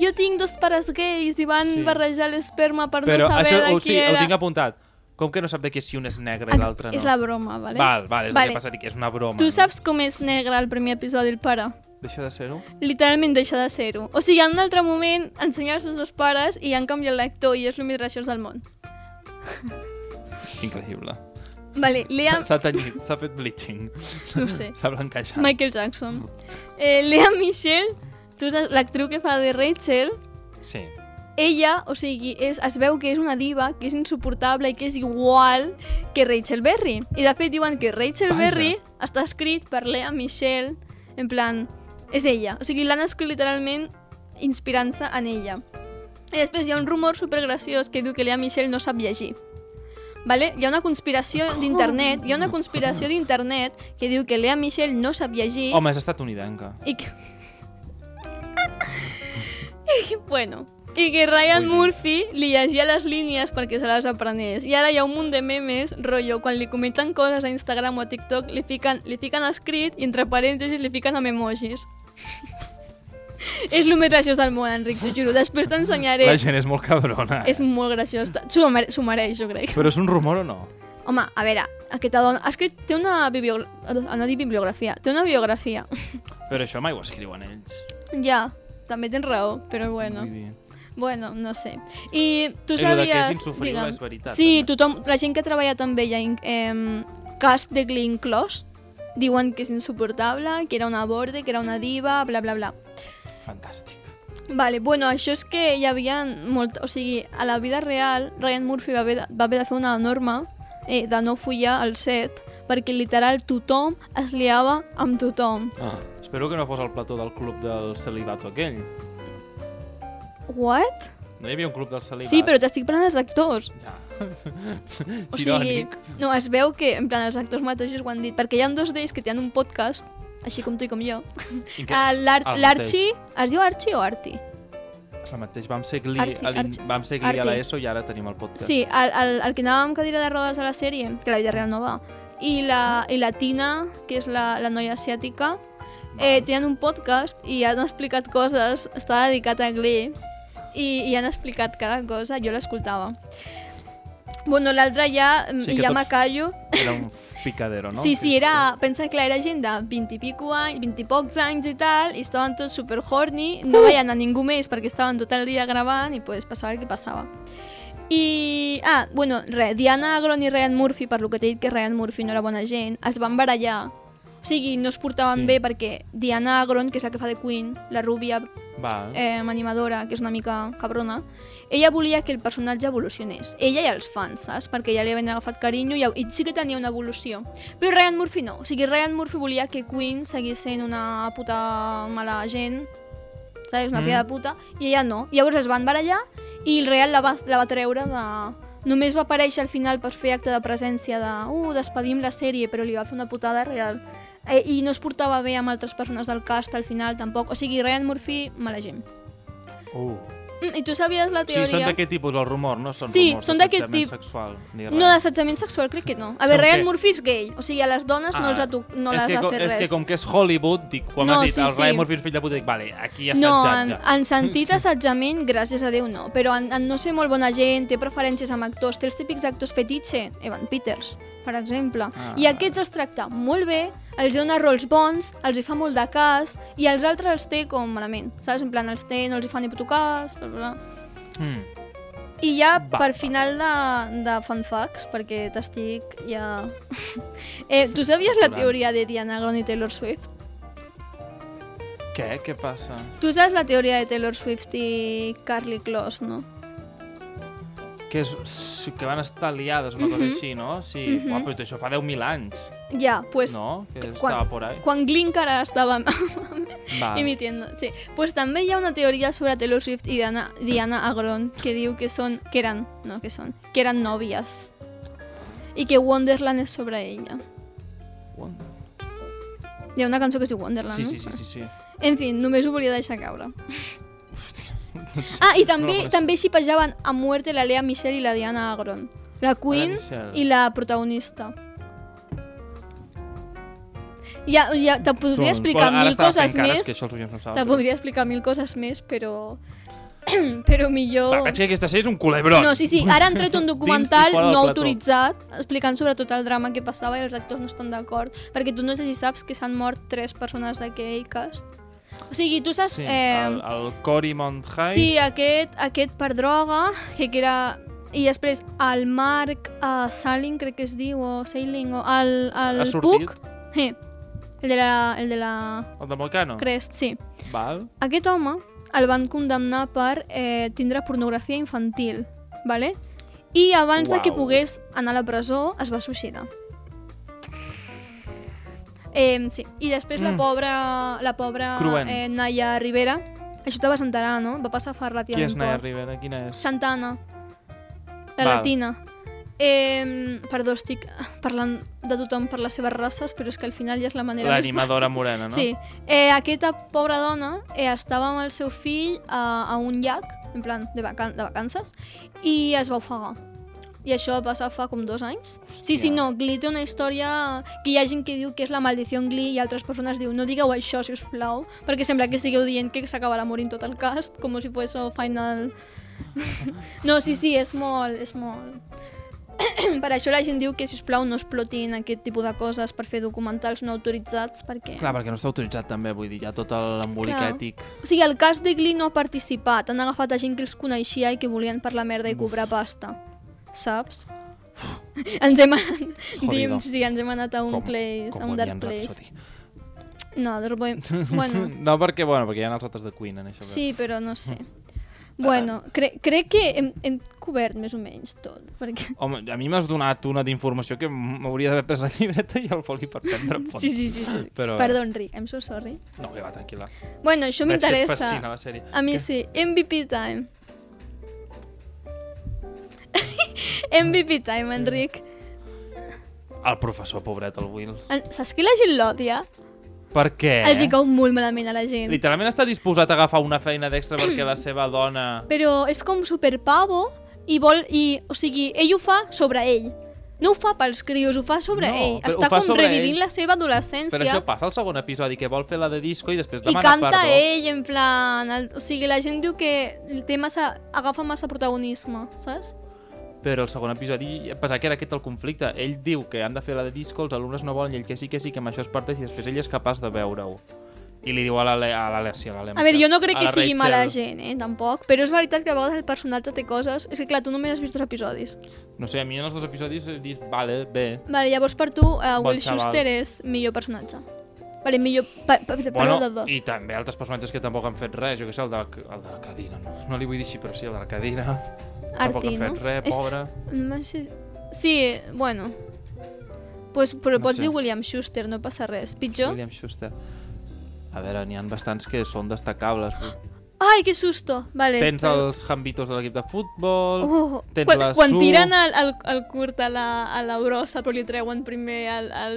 [SPEAKER 2] jo tinc dos pares gais i van
[SPEAKER 3] Sí.
[SPEAKER 2] sí. barrejar l'esperma per
[SPEAKER 3] Però
[SPEAKER 2] no saber
[SPEAKER 3] això
[SPEAKER 2] de
[SPEAKER 3] ho,
[SPEAKER 2] qui
[SPEAKER 3] sí, ho
[SPEAKER 2] era. Ah,
[SPEAKER 3] tinc apuntat. Com que no sap de qui és si un és negre i l'altre no?
[SPEAKER 2] És la broma, vale?
[SPEAKER 3] Val, val, és
[SPEAKER 2] Vale.
[SPEAKER 3] el que passa, dic, és una broma.
[SPEAKER 2] Tu
[SPEAKER 3] no?
[SPEAKER 2] saps com és negre el primer episodi el pare?
[SPEAKER 3] Deixa de ser-ho.
[SPEAKER 2] Literalment deixa de ser-ho. O sigui, en un altre moment ensenya els seus dos pares i han canviat l'actor i és el més graciós del món.
[SPEAKER 3] Increïble.
[SPEAKER 2] Vale, Liam...
[SPEAKER 3] S'ha- S'ha tenyit, s'ha fet bleaching.
[SPEAKER 2] No ho sé.
[SPEAKER 3] S'ha blanquejat.
[SPEAKER 2] Michael Jackson. Eh, Lea Michelle, tu saps l'actriu que fa de Rachel,
[SPEAKER 3] Sí.
[SPEAKER 2] ella, o sigui, és, es veu que és una diva, que és insuportable i que és igual que Rachel Berry. I de fet diuen que Rachel
[SPEAKER 3] Vaja.
[SPEAKER 2] Berry està escrit per Lea Michelle, en plan, és ella. O sigui, l'han escrit literalment inspirant-se en ella. I després hi ha un rumor supergraciós que diu que Lea Michelle no sap llegir. Vale? Hi ha una conspiració d'internet, hi ha una conspiració d'internet que diu que Lea Michelle no sap llegir
[SPEAKER 3] Home, és estatunidenca.
[SPEAKER 2] i que... I, bueno, i que Ryan
[SPEAKER 3] Muy bien.
[SPEAKER 2] Murphy li llegia les línies perquè se les aprenés. I ara hi ha un munt de memes, rotllo, quan li comenten coses a Instagram o a TikTok, li fiquen, li fiquen escrit i entre parèntesis li fiquen amb emojis. és el més graciós del món, Enric, t'ho juro. Després t'ensenyaré.
[SPEAKER 3] La gent és molt cabrona. eh?
[SPEAKER 2] És molt graciós. S'ho mere- s'ho mereix, jo crec.
[SPEAKER 3] Però és un rumor o no?
[SPEAKER 2] Home, a veure, aquesta dona... Ha escrit... Té una, bibliogra... no, dic bibliografia. Té una biografia.
[SPEAKER 3] Però això mai ho escriuen ells.
[SPEAKER 2] ja, també tens raó, però bueno.
[SPEAKER 3] Vull dir,
[SPEAKER 2] Bueno, no sé. I tu
[SPEAKER 3] Però de
[SPEAKER 2] sabies...
[SPEAKER 3] que és insufrible
[SPEAKER 2] digue'm,
[SPEAKER 3] és veritat,
[SPEAKER 2] Sí,
[SPEAKER 3] també.
[SPEAKER 2] tothom, la gent que treballa també ja eh, casp de Glee inclòs, diuen que és insuportable, que era una borde, que era una diva, bla, bla, bla.
[SPEAKER 3] fantàstic.
[SPEAKER 2] Vale, bueno, això és que hi havia molt... O sigui, a la vida real, Ryan Murphy va haver de, va haver de fer una norma eh, de no follar al set, perquè literal tothom es liava amb tothom.
[SPEAKER 3] Ah. Espero que no fos el plató del club del celibato aquell.
[SPEAKER 2] What?
[SPEAKER 3] No hi havia un club del celibat?
[SPEAKER 2] Sí, però t'estic parlant dels actors.
[SPEAKER 3] Ja.
[SPEAKER 2] O sigui,
[SPEAKER 3] Irònic.
[SPEAKER 2] no, es veu que, en plan, els actors mateixos ho han dit, perquè hi ha dos d'ells que tenen un podcast, així com tu i com jo.
[SPEAKER 3] I què
[SPEAKER 2] Ah,
[SPEAKER 3] és?
[SPEAKER 2] l'Ar-
[SPEAKER 3] El
[SPEAKER 2] L'Archie, es diu Archie o Arti?
[SPEAKER 3] mateix. El mateix, vam ser gli,
[SPEAKER 2] Arti-
[SPEAKER 3] a l'in-
[SPEAKER 2] Arti-
[SPEAKER 3] vam ser gli a
[SPEAKER 2] Arti.
[SPEAKER 3] l'ESO i ara tenim el podcast.
[SPEAKER 2] Sí, el, el, el que anava amb cadira de rodes a la sèrie, que la vida real no va, i la, i la Tina, que és la, la noia asiàtica, eh, tenen un podcast i han explicat coses, està dedicat a Glee, i, i han explicat cada cosa, jo l'escoltava. Bueno, l'altre ja,
[SPEAKER 3] Sí,
[SPEAKER 2] sí,
[SPEAKER 3] que
[SPEAKER 2] ja
[SPEAKER 3] tots-
[SPEAKER 2] me callo,
[SPEAKER 3] Era un picadero, no?
[SPEAKER 2] Sí, sí, era, pensa que la era gent de 20 i pico anys, 20 i pocs anys i tal, i estaven tots super horny, no veien a ningú més perquè estaven tot el dia gravant i pues, passava el que passava. I, ah, bueno, re, Diana Agron i Ryan Murphy, per lo que t'he dit que Ryan Murphy no era bona gent, es van barallar. O sigui, no es portaven
[SPEAKER 3] Sí.
[SPEAKER 2] sí. bé perquè Diana Agron, que és la que fa de Queen, la rúbia
[SPEAKER 3] Val.
[SPEAKER 2] eh, animadora, que és una mica cabrona, ella volia que el personatge evolucionés. Ella i els fans, saps? Perquè ja li havien agafat carinyo i, i sí que tenia una evolució. Però Ryan Murphy no. O sigui, Ryan Murphy volia que Queen seguís sent una puta mala gent, saps? Una
[SPEAKER 3] Mm.
[SPEAKER 2] filla de puta, i ella no. Llavors es van barallar i el Real la va, la va treure de... Només va aparèixer al final per fer acte de presència de uh, despedim la sèrie, però li va fer una putada real. Eh, I no es portava bé amb altres persones del cast al final tampoc. O sigui, Ryan Murphy, mala gent.
[SPEAKER 3] Uh.
[SPEAKER 2] Mm, I tu sabies la
[SPEAKER 3] O sigui,
[SPEAKER 2] teoria?
[SPEAKER 3] són d'aquest tipus, el rumor, no? Són
[SPEAKER 2] Sí,
[SPEAKER 3] rumors
[SPEAKER 2] són d'aquest
[SPEAKER 3] d'assetjament
[SPEAKER 2] tip-
[SPEAKER 3] sexual, ni res.
[SPEAKER 2] No, d'assetjament sexual crec que no. A
[SPEAKER 3] Com
[SPEAKER 2] veure, Ryan
[SPEAKER 3] que- Ah,
[SPEAKER 2] Murphy és gay. O sigui, a les dones no, els ha tu... no
[SPEAKER 3] és
[SPEAKER 2] les
[SPEAKER 3] que,
[SPEAKER 2] ha
[SPEAKER 3] com-
[SPEAKER 2] fet
[SPEAKER 3] és
[SPEAKER 2] res.
[SPEAKER 3] que com que és Hollywood, dic, quan
[SPEAKER 2] No,
[SPEAKER 3] has dit
[SPEAKER 2] sí,
[SPEAKER 3] el
[SPEAKER 2] sí.
[SPEAKER 3] Ryan Murphy és fill de puta, dic, vale, aquí ja s'ha
[SPEAKER 2] no,
[SPEAKER 3] assetjat
[SPEAKER 2] en,
[SPEAKER 3] ja.
[SPEAKER 2] en sentit assetjament, gràcies a Déu no, però en, en no ser molt bona gent, té preferències amb actors, té els típics actors fetitxe, Evan Peters, per exemple, ah.
[SPEAKER 3] Ah.
[SPEAKER 2] i aquests els tracta molt bé, els dona rols bons, els hi fa molt de cas, i els altres els té com malament, saps? En plan, els té, no els hi fa ni puto cas, bla, bla, bla.
[SPEAKER 3] Mm.
[SPEAKER 2] I ja
[SPEAKER 3] Va,
[SPEAKER 2] va, per
[SPEAKER 3] va.
[SPEAKER 2] final de, de fun facts, perquè t'estic ja... eh, tu sabies la
[SPEAKER 3] Saturant.
[SPEAKER 2] teoria de Diana Agron i Taylor Swift?
[SPEAKER 3] Què? Què passa?
[SPEAKER 2] Tu saps la teoria de Taylor Swift i Carly Close, no?
[SPEAKER 3] que, és, sí, que van estar aliades, una cosa
[SPEAKER 2] Mhm.
[SPEAKER 3] així, no? Sí,
[SPEAKER 2] Mhm.
[SPEAKER 3] Uah, però tot això fa 10.000 anys,
[SPEAKER 2] Ja, pues...
[SPEAKER 3] no? Ah. Que
[SPEAKER 2] quan-
[SPEAKER 3] estava por ahí.
[SPEAKER 2] Quan Glyn encara estava
[SPEAKER 3] Va.
[SPEAKER 2] emitiendo, sí. Pues també hi ha una teoria sobre Taylor Swift i Diana, Diana Agron que diu que són, que eren, no, que són, que eren nòvies. I que Wonderland és sobre ella. Hi ha una cançó que es diu Wonderland,
[SPEAKER 3] Sí,
[SPEAKER 2] no?
[SPEAKER 3] sí, sí, sí, sí.
[SPEAKER 2] En fi, només ho volia deixar caure. Ah, i també
[SPEAKER 3] No,
[SPEAKER 2] també xipejaven a muerte la Lea Michelle i la Diana Agron. La Queen
[SPEAKER 3] Michele.
[SPEAKER 2] i la protagonista. Ja, ja te podria explicar
[SPEAKER 3] Doncs, Bueno, ara
[SPEAKER 2] mil
[SPEAKER 3] estava
[SPEAKER 2] coses
[SPEAKER 3] fent cares
[SPEAKER 2] més.
[SPEAKER 3] Que això els oients no ho
[SPEAKER 2] Te
[SPEAKER 3] saben, però...
[SPEAKER 2] podria explicar mil coses més, però... però
[SPEAKER 3] Va,
[SPEAKER 2] millor...
[SPEAKER 3] veig que aquesta sèrie és un culebron.
[SPEAKER 2] No, sí, sí, ara han tret un
[SPEAKER 3] Dins i
[SPEAKER 2] documental
[SPEAKER 3] fora del
[SPEAKER 2] no
[SPEAKER 3] plató.
[SPEAKER 2] autoritzat explicant sobre tot el drama que passava i els actors no estan d'acord, perquè tu no sé si saps que s'han mort tres persones d'aquell cast. O sigui, tu saps...
[SPEAKER 3] Sí,
[SPEAKER 2] eh,
[SPEAKER 3] el, el Cory Monthai.
[SPEAKER 2] Sí, aquest, aquest per droga, que que era... I després el Marc uh, Salin, crec que es diu, o Sailing, o el, el
[SPEAKER 3] Ha sortit? Ah.
[SPEAKER 2] Puc. Sí, el de la, el de la
[SPEAKER 3] El de Volcano.
[SPEAKER 2] Crest, sí.
[SPEAKER 3] Val.
[SPEAKER 2] Aquest home el van condemnar per eh, tindre pornografia infantil, vale? i abans de que
[SPEAKER 3] Uau.
[SPEAKER 2] pogués anar a la presó es va suïcidar. Eh, sí. I després la
[SPEAKER 3] Mm.
[SPEAKER 2] pobra, la pobra
[SPEAKER 3] Cruent.
[SPEAKER 2] eh, Naya Rivera, això te vas enterar, no? Va passar fa
[SPEAKER 3] Qui és
[SPEAKER 2] relativament
[SPEAKER 3] Naya
[SPEAKER 2] poc.
[SPEAKER 3] Rivera? Quina és?
[SPEAKER 2] Santana. La
[SPEAKER 3] Val.
[SPEAKER 2] latina. Eh, perdó, estic parlant de tothom per les seves races, però és que al final ja és la manera més fàcil.
[SPEAKER 3] L'animadora morena, no?
[SPEAKER 2] Sí. Eh, aquesta pobra dona eh, estava amb el seu fill a, a un llac, en plan, de, vacan de vacances, i es va ofegar. I això va passar fa com dos anys. Sí, sí,
[SPEAKER 3] Hòstia.
[SPEAKER 2] no, Glee té una història que hi ha gent que diu que és la maldició Glee i altres persones diu no digueu això, si us plau, perquè sembla que estigueu dient que s'acabarà morint tot el cast, com si fos el final... no, sí, sí, és molt, és molt... per això la gent diu que, si us plau, no explotin aquest tipus de coses per fer documentals no autoritzats, perquè...
[SPEAKER 3] Clar, perquè no està autoritzat també, vull dir, hi ha tot l'embolic
[SPEAKER 2] Clar.
[SPEAKER 3] ètic.
[SPEAKER 2] O sigui, el cas de Glee no ha participat. Han agafat a gent que els coneixia i que volien per la merda i cobrar pasta. Saps? ens hem anat...
[SPEAKER 3] jodido.
[SPEAKER 2] Dim, sí, ens hem anat a un
[SPEAKER 3] Com-
[SPEAKER 2] place,
[SPEAKER 3] com
[SPEAKER 2] a un dark
[SPEAKER 3] Bohemian
[SPEAKER 2] place.
[SPEAKER 3] Rhapsody.
[SPEAKER 2] No, de Bohem... Bueno,
[SPEAKER 3] No, perquè, bueno, perquè hi ha els altres de Queen en això.
[SPEAKER 2] sí, però no sé. Bueno, cre crec que hem, hem cobert més o menys tot, perquè...
[SPEAKER 3] Home, a mi m'has donat una d'informació que m'hauria d'haver pres la llibreta i el foli per prendre punts.
[SPEAKER 2] Sí, sí, sí, sí.
[SPEAKER 3] Però-
[SPEAKER 2] Perdó, Enric, em so sorry.
[SPEAKER 3] No, que va, tranquil·la.
[SPEAKER 2] Bueno, això
[SPEAKER 3] Veig que et
[SPEAKER 2] m'interessa.
[SPEAKER 3] fascina la sèrie.
[SPEAKER 2] A mi
[SPEAKER 3] Què?
[SPEAKER 2] sí. MVP time. MVP
[SPEAKER 3] Eh.
[SPEAKER 2] time, Enric.
[SPEAKER 3] El professor, pobret, el Will.
[SPEAKER 2] En- Saps que la gent l'odia?
[SPEAKER 3] Per què?
[SPEAKER 2] Eh? Els hi cau molt malament a la gent.
[SPEAKER 3] Literalment està disposat a agafar una feina d'extra perquè la seva dona...
[SPEAKER 2] Però és com superpavo i vol... I, o sigui, ell ho fa sobre ell. No ho fa pels crios, ho fa sobre
[SPEAKER 3] No,
[SPEAKER 2] ell.
[SPEAKER 3] però ho
[SPEAKER 2] Està
[SPEAKER 3] fa
[SPEAKER 2] com
[SPEAKER 3] sobre
[SPEAKER 2] revivint
[SPEAKER 3] ell.
[SPEAKER 2] la seva adolescència.
[SPEAKER 3] Però això passa al segon episodi, que vol fer la de disco i després
[SPEAKER 2] I
[SPEAKER 3] demana
[SPEAKER 2] canta
[SPEAKER 3] perdó.
[SPEAKER 2] ell, en plan... El, o sigui, la gent diu que té massa, agafa massa protagonisme, saps?
[SPEAKER 3] Però el segon episodi pensava que era aquest el conflicte. Ell diu que han de fer la de disco, els alumnes no volen, i ell que sí, que sí, que amb això es parteix, i després ell és capaç de veure-ho. I li diu a l'Ale- a l'Alessia, a l'Alessia.
[SPEAKER 2] A veure, jo no crec
[SPEAKER 3] a
[SPEAKER 2] que
[SPEAKER 3] la
[SPEAKER 2] sigui
[SPEAKER 3] Rachel.
[SPEAKER 2] mala gent, eh, tampoc. Però és veritat que a vegades el personatge té coses... És que, clar, tu només has vist dos episodis.
[SPEAKER 3] No sé, a mi en els dos episodis he dit, vale, bé.
[SPEAKER 2] Vale, llavors per tu, uh,
[SPEAKER 3] Bon
[SPEAKER 2] Will
[SPEAKER 3] xaval.
[SPEAKER 2] Schuster és millor personatge. Vale, millor... Pa, pa, pa,
[SPEAKER 3] Bueno, i també altres personatges que tampoc han fet res, jo què sé, el de la, el de la cadira, no, no li vull dir així, però sí, el de la cadira. tampoc ha
[SPEAKER 2] Arti,
[SPEAKER 3] fet
[SPEAKER 2] no?
[SPEAKER 3] res,
[SPEAKER 2] És-
[SPEAKER 3] pobre.
[SPEAKER 2] No sé... Sí, bueno. Pues, però
[SPEAKER 3] No
[SPEAKER 2] no pots
[SPEAKER 3] sé.
[SPEAKER 2] dir William Schuster, no passa res. Pitjor? William...
[SPEAKER 3] William Schuster. A veure, n'hi ha bastants que són destacables.
[SPEAKER 2] Ai, que susto! Vale.
[SPEAKER 3] Tens
[SPEAKER 2] Eh, però-
[SPEAKER 3] els jambitos de l'equip de futbol,
[SPEAKER 2] Oh,
[SPEAKER 3] tens
[SPEAKER 2] quan,
[SPEAKER 3] la
[SPEAKER 2] quan
[SPEAKER 3] Su-
[SPEAKER 2] tiren el, el, el curt a la, a la brossa però li treuen primer el, el,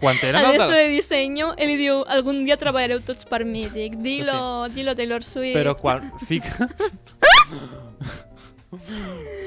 [SPEAKER 3] quan
[SPEAKER 2] el
[SPEAKER 3] tenen el de...
[SPEAKER 2] resto de disseny ell li diu, algun dia treballareu tots per mi dic, dilo, dilo Taylor Swift
[SPEAKER 3] Però quan fica...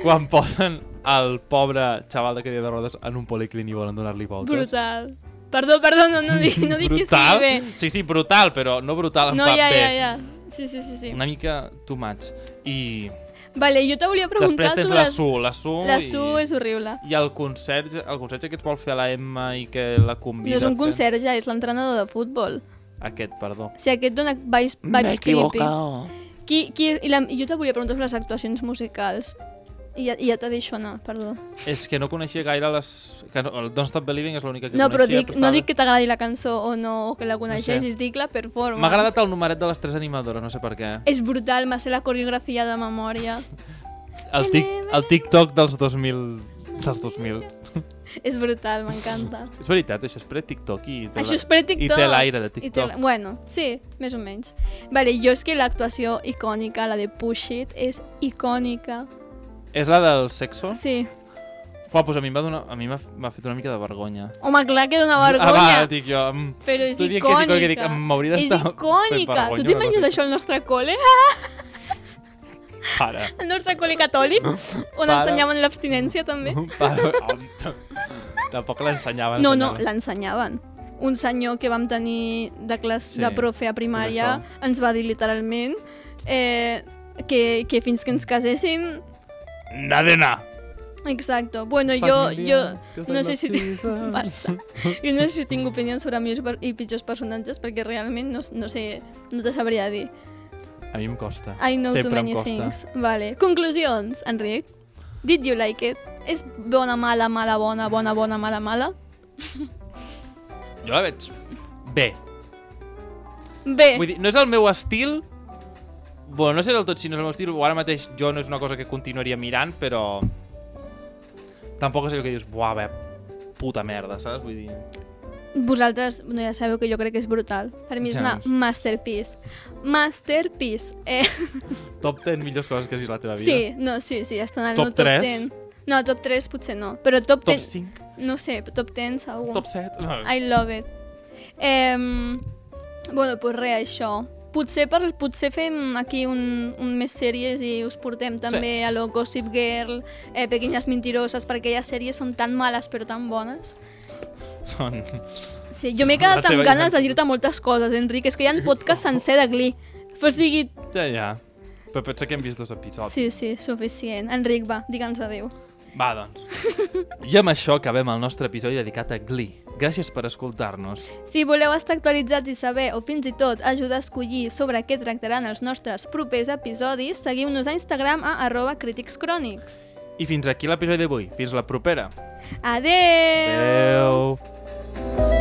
[SPEAKER 3] quan posen el pobre xaval de cadira de rodes en un policlin i volen donar-li voltes.
[SPEAKER 2] brutal perdó, perdó, no, no dic, no dic que
[SPEAKER 3] brutal?
[SPEAKER 2] estigui bé
[SPEAKER 3] Sí, sí, brutal, però no brutal
[SPEAKER 2] no,
[SPEAKER 3] en plan
[SPEAKER 2] ja,
[SPEAKER 3] bé.
[SPEAKER 2] ja, ja sí, sí, sí, sí.
[SPEAKER 3] Una mica too much. I
[SPEAKER 2] Vale, jo te volia preguntar
[SPEAKER 3] després tens
[SPEAKER 2] sobre...
[SPEAKER 3] la Su, la Su...
[SPEAKER 2] La
[SPEAKER 3] i...
[SPEAKER 2] Su és horrible
[SPEAKER 3] I el concert, el concert que et vol fer a la Emma i que la convida...
[SPEAKER 2] No és
[SPEAKER 3] a
[SPEAKER 2] un
[SPEAKER 3] fer-
[SPEAKER 2] conserge, és l'entrenador de futbol.
[SPEAKER 3] Aquest, perdó.
[SPEAKER 2] O sigui, aquest dona vibes, vibes creepy. Qui, qui, i la, jo te volia preguntar sobre les actuacions musicals. I ja, i ja te deixo anar, perdó.
[SPEAKER 3] És que no coneixia gaire les... Que no, el Don't Stop Believing és l'única que
[SPEAKER 2] no, però
[SPEAKER 3] coneixia.
[SPEAKER 2] dic, no dic que t'agradi la cançó o no, o que la
[SPEAKER 3] No
[SPEAKER 2] coneixessis,
[SPEAKER 3] sé.
[SPEAKER 2] dic la performance.
[SPEAKER 3] M'ha agradat el numeret de les tres animadores, no sé per què.
[SPEAKER 2] És brutal, m'ha ser la coreografia de memòria.
[SPEAKER 3] El, tic, el TikTok dels 2000... dels 2000.
[SPEAKER 2] És brutal, m'encanta.
[SPEAKER 3] És veritat, això és pre-TikTok i té
[SPEAKER 2] Això
[SPEAKER 3] la-
[SPEAKER 2] és per Ah, TikTok.
[SPEAKER 3] I té l'aire de
[SPEAKER 2] I
[SPEAKER 3] TikTok.
[SPEAKER 2] té la- Bueno, sí, més o menys. Vale, jo és que l'actuació icònica, la de Push It, és icònica.
[SPEAKER 3] És la del sexo?
[SPEAKER 2] Sí.
[SPEAKER 3] Uau, doncs a mi em va donar, a mi m'ha- m'ha fet una mica de vergonya.
[SPEAKER 2] Home, clar que dona
[SPEAKER 3] Ah, va,
[SPEAKER 2] vergonya.
[SPEAKER 3] dic jo... Mm,
[SPEAKER 2] però és
[SPEAKER 3] tu dic
[SPEAKER 2] icònica.
[SPEAKER 3] Que és icònica, dic, em m'hauria
[SPEAKER 2] és
[SPEAKER 3] d'estar fent
[SPEAKER 2] icònica.
[SPEAKER 3] vergonya
[SPEAKER 2] Tu
[SPEAKER 3] una
[SPEAKER 2] t'imagines
[SPEAKER 3] cosa
[SPEAKER 2] això al nostre col·le?
[SPEAKER 3] així. Para.
[SPEAKER 2] Al nostre col·le catòlic? On
[SPEAKER 3] Pare.
[SPEAKER 2] ensenyaven l'abstinència, també?
[SPEAKER 3] Para. Home, t- Tampoc l'ensenyaven.
[SPEAKER 2] No, no,
[SPEAKER 3] ensenyaven.
[SPEAKER 2] l'ensenyaven. Un senyor que vam tenir de classe
[SPEAKER 3] Sí,
[SPEAKER 2] de profe a primària
[SPEAKER 3] és
[SPEAKER 2] ens va dir literalment eh, que, que fins que ens caséssim...
[SPEAKER 3] Nadena.
[SPEAKER 2] Exacto. Bueno, jo,
[SPEAKER 3] Familia,
[SPEAKER 2] jo
[SPEAKER 3] que
[SPEAKER 2] no
[SPEAKER 3] soy
[SPEAKER 2] sé si...
[SPEAKER 3] la chisa.
[SPEAKER 2] Basta. Jo no sé si tinc opinions sobre millors per- i pitjors personatges perquè realment no, no sé... No te sabria dir.
[SPEAKER 3] A mi em costa.
[SPEAKER 2] I know
[SPEAKER 3] Sempre
[SPEAKER 2] too many
[SPEAKER 3] em costa.
[SPEAKER 2] things. Vale. Conclusions, Enric. Did you like it? És bona, mala, mala, bona, bona, bona, mala, mala?
[SPEAKER 3] Jo la veig bé.
[SPEAKER 2] Bé.
[SPEAKER 3] Vull dir, no és el meu estil... Bueno, no sé del tot si no és el meu estil, o ara mateix jo no és una cosa que continuaria mirant, però... Tampoc és allò que dius, buah, bé, puta merda, saps? Vull dir...
[SPEAKER 2] Vosaltres no ja sabeu que jo crec que és brutal. Per mi és
[SPEAKER 3] Ja
[SPEAKER 2] una
[SPEAKER 3] ho sé.
[SPEAKER 2] masterpiece. Masterpiece. Eh,
[SPEAKER 3] Top 10 millors coses que has vist a la teva vida.
[SPEAKER 2] sí, no, sí, sí, estan al
[SPEAKER 3] Top
[SPEAKER 2] meu top
[SPEAKER 3] tres?
[SPEAKER 2] 10. No, top 3 potser no, però top,
[SPEAKER 3] Top
[SPEAKER 2] 10,
[SPEAKER 3] 5,
[SPEAKER 2] no sé, top 10 segur.
[SPEAKER 3] top 7... No.
[SPEAKER 2] I love it. Eh, bueno, doncs res, això. Potser, per, potser fem aquí un, un més sèries i us portem també a lo Gossip Girl, eh, Pequeñas Mentiroses, perquè ja sèries són tan males però tan bones.
[SPEAKER 3] Són...
[SPEAKER 2] Sí, jo m'he
[SPEAKER 3] Són la
[SPEAKER 2] quedat amb
[SPEAKER 3] teva
[SPEAKER 2] ganes de
[SPEAKER 3] identitat.
[SPEAKER 2] dir-te moltes coses, Enric. És que hi ha un podcast sencer de Glee. O sigui...
[SPEAKER 3] Ja, ja. Però pensa que hem vist dos episodis.
[SPEAKER 2] Sí, sí, suficient. Enric, va, digue'ns adéu.
[SPEAKER 3] Va, doncs. I amb això acabem el nostre episodi dedicat a Glee. Gràcies per escoltar-nos.
[SPEAKER 2] Si voleu estar actualitzats i saber, o fins i tot ajudar a escollir sobre què tractaran els nostres propers episodis, seguiu-nos a Instagram a arroba criticscrònics.
[SPEAKER 3] I fins aquí l'episodi d'avui. Fins la propera.
[SPEAKER 2] Adéu!
[SPEAKER 3] Adéu.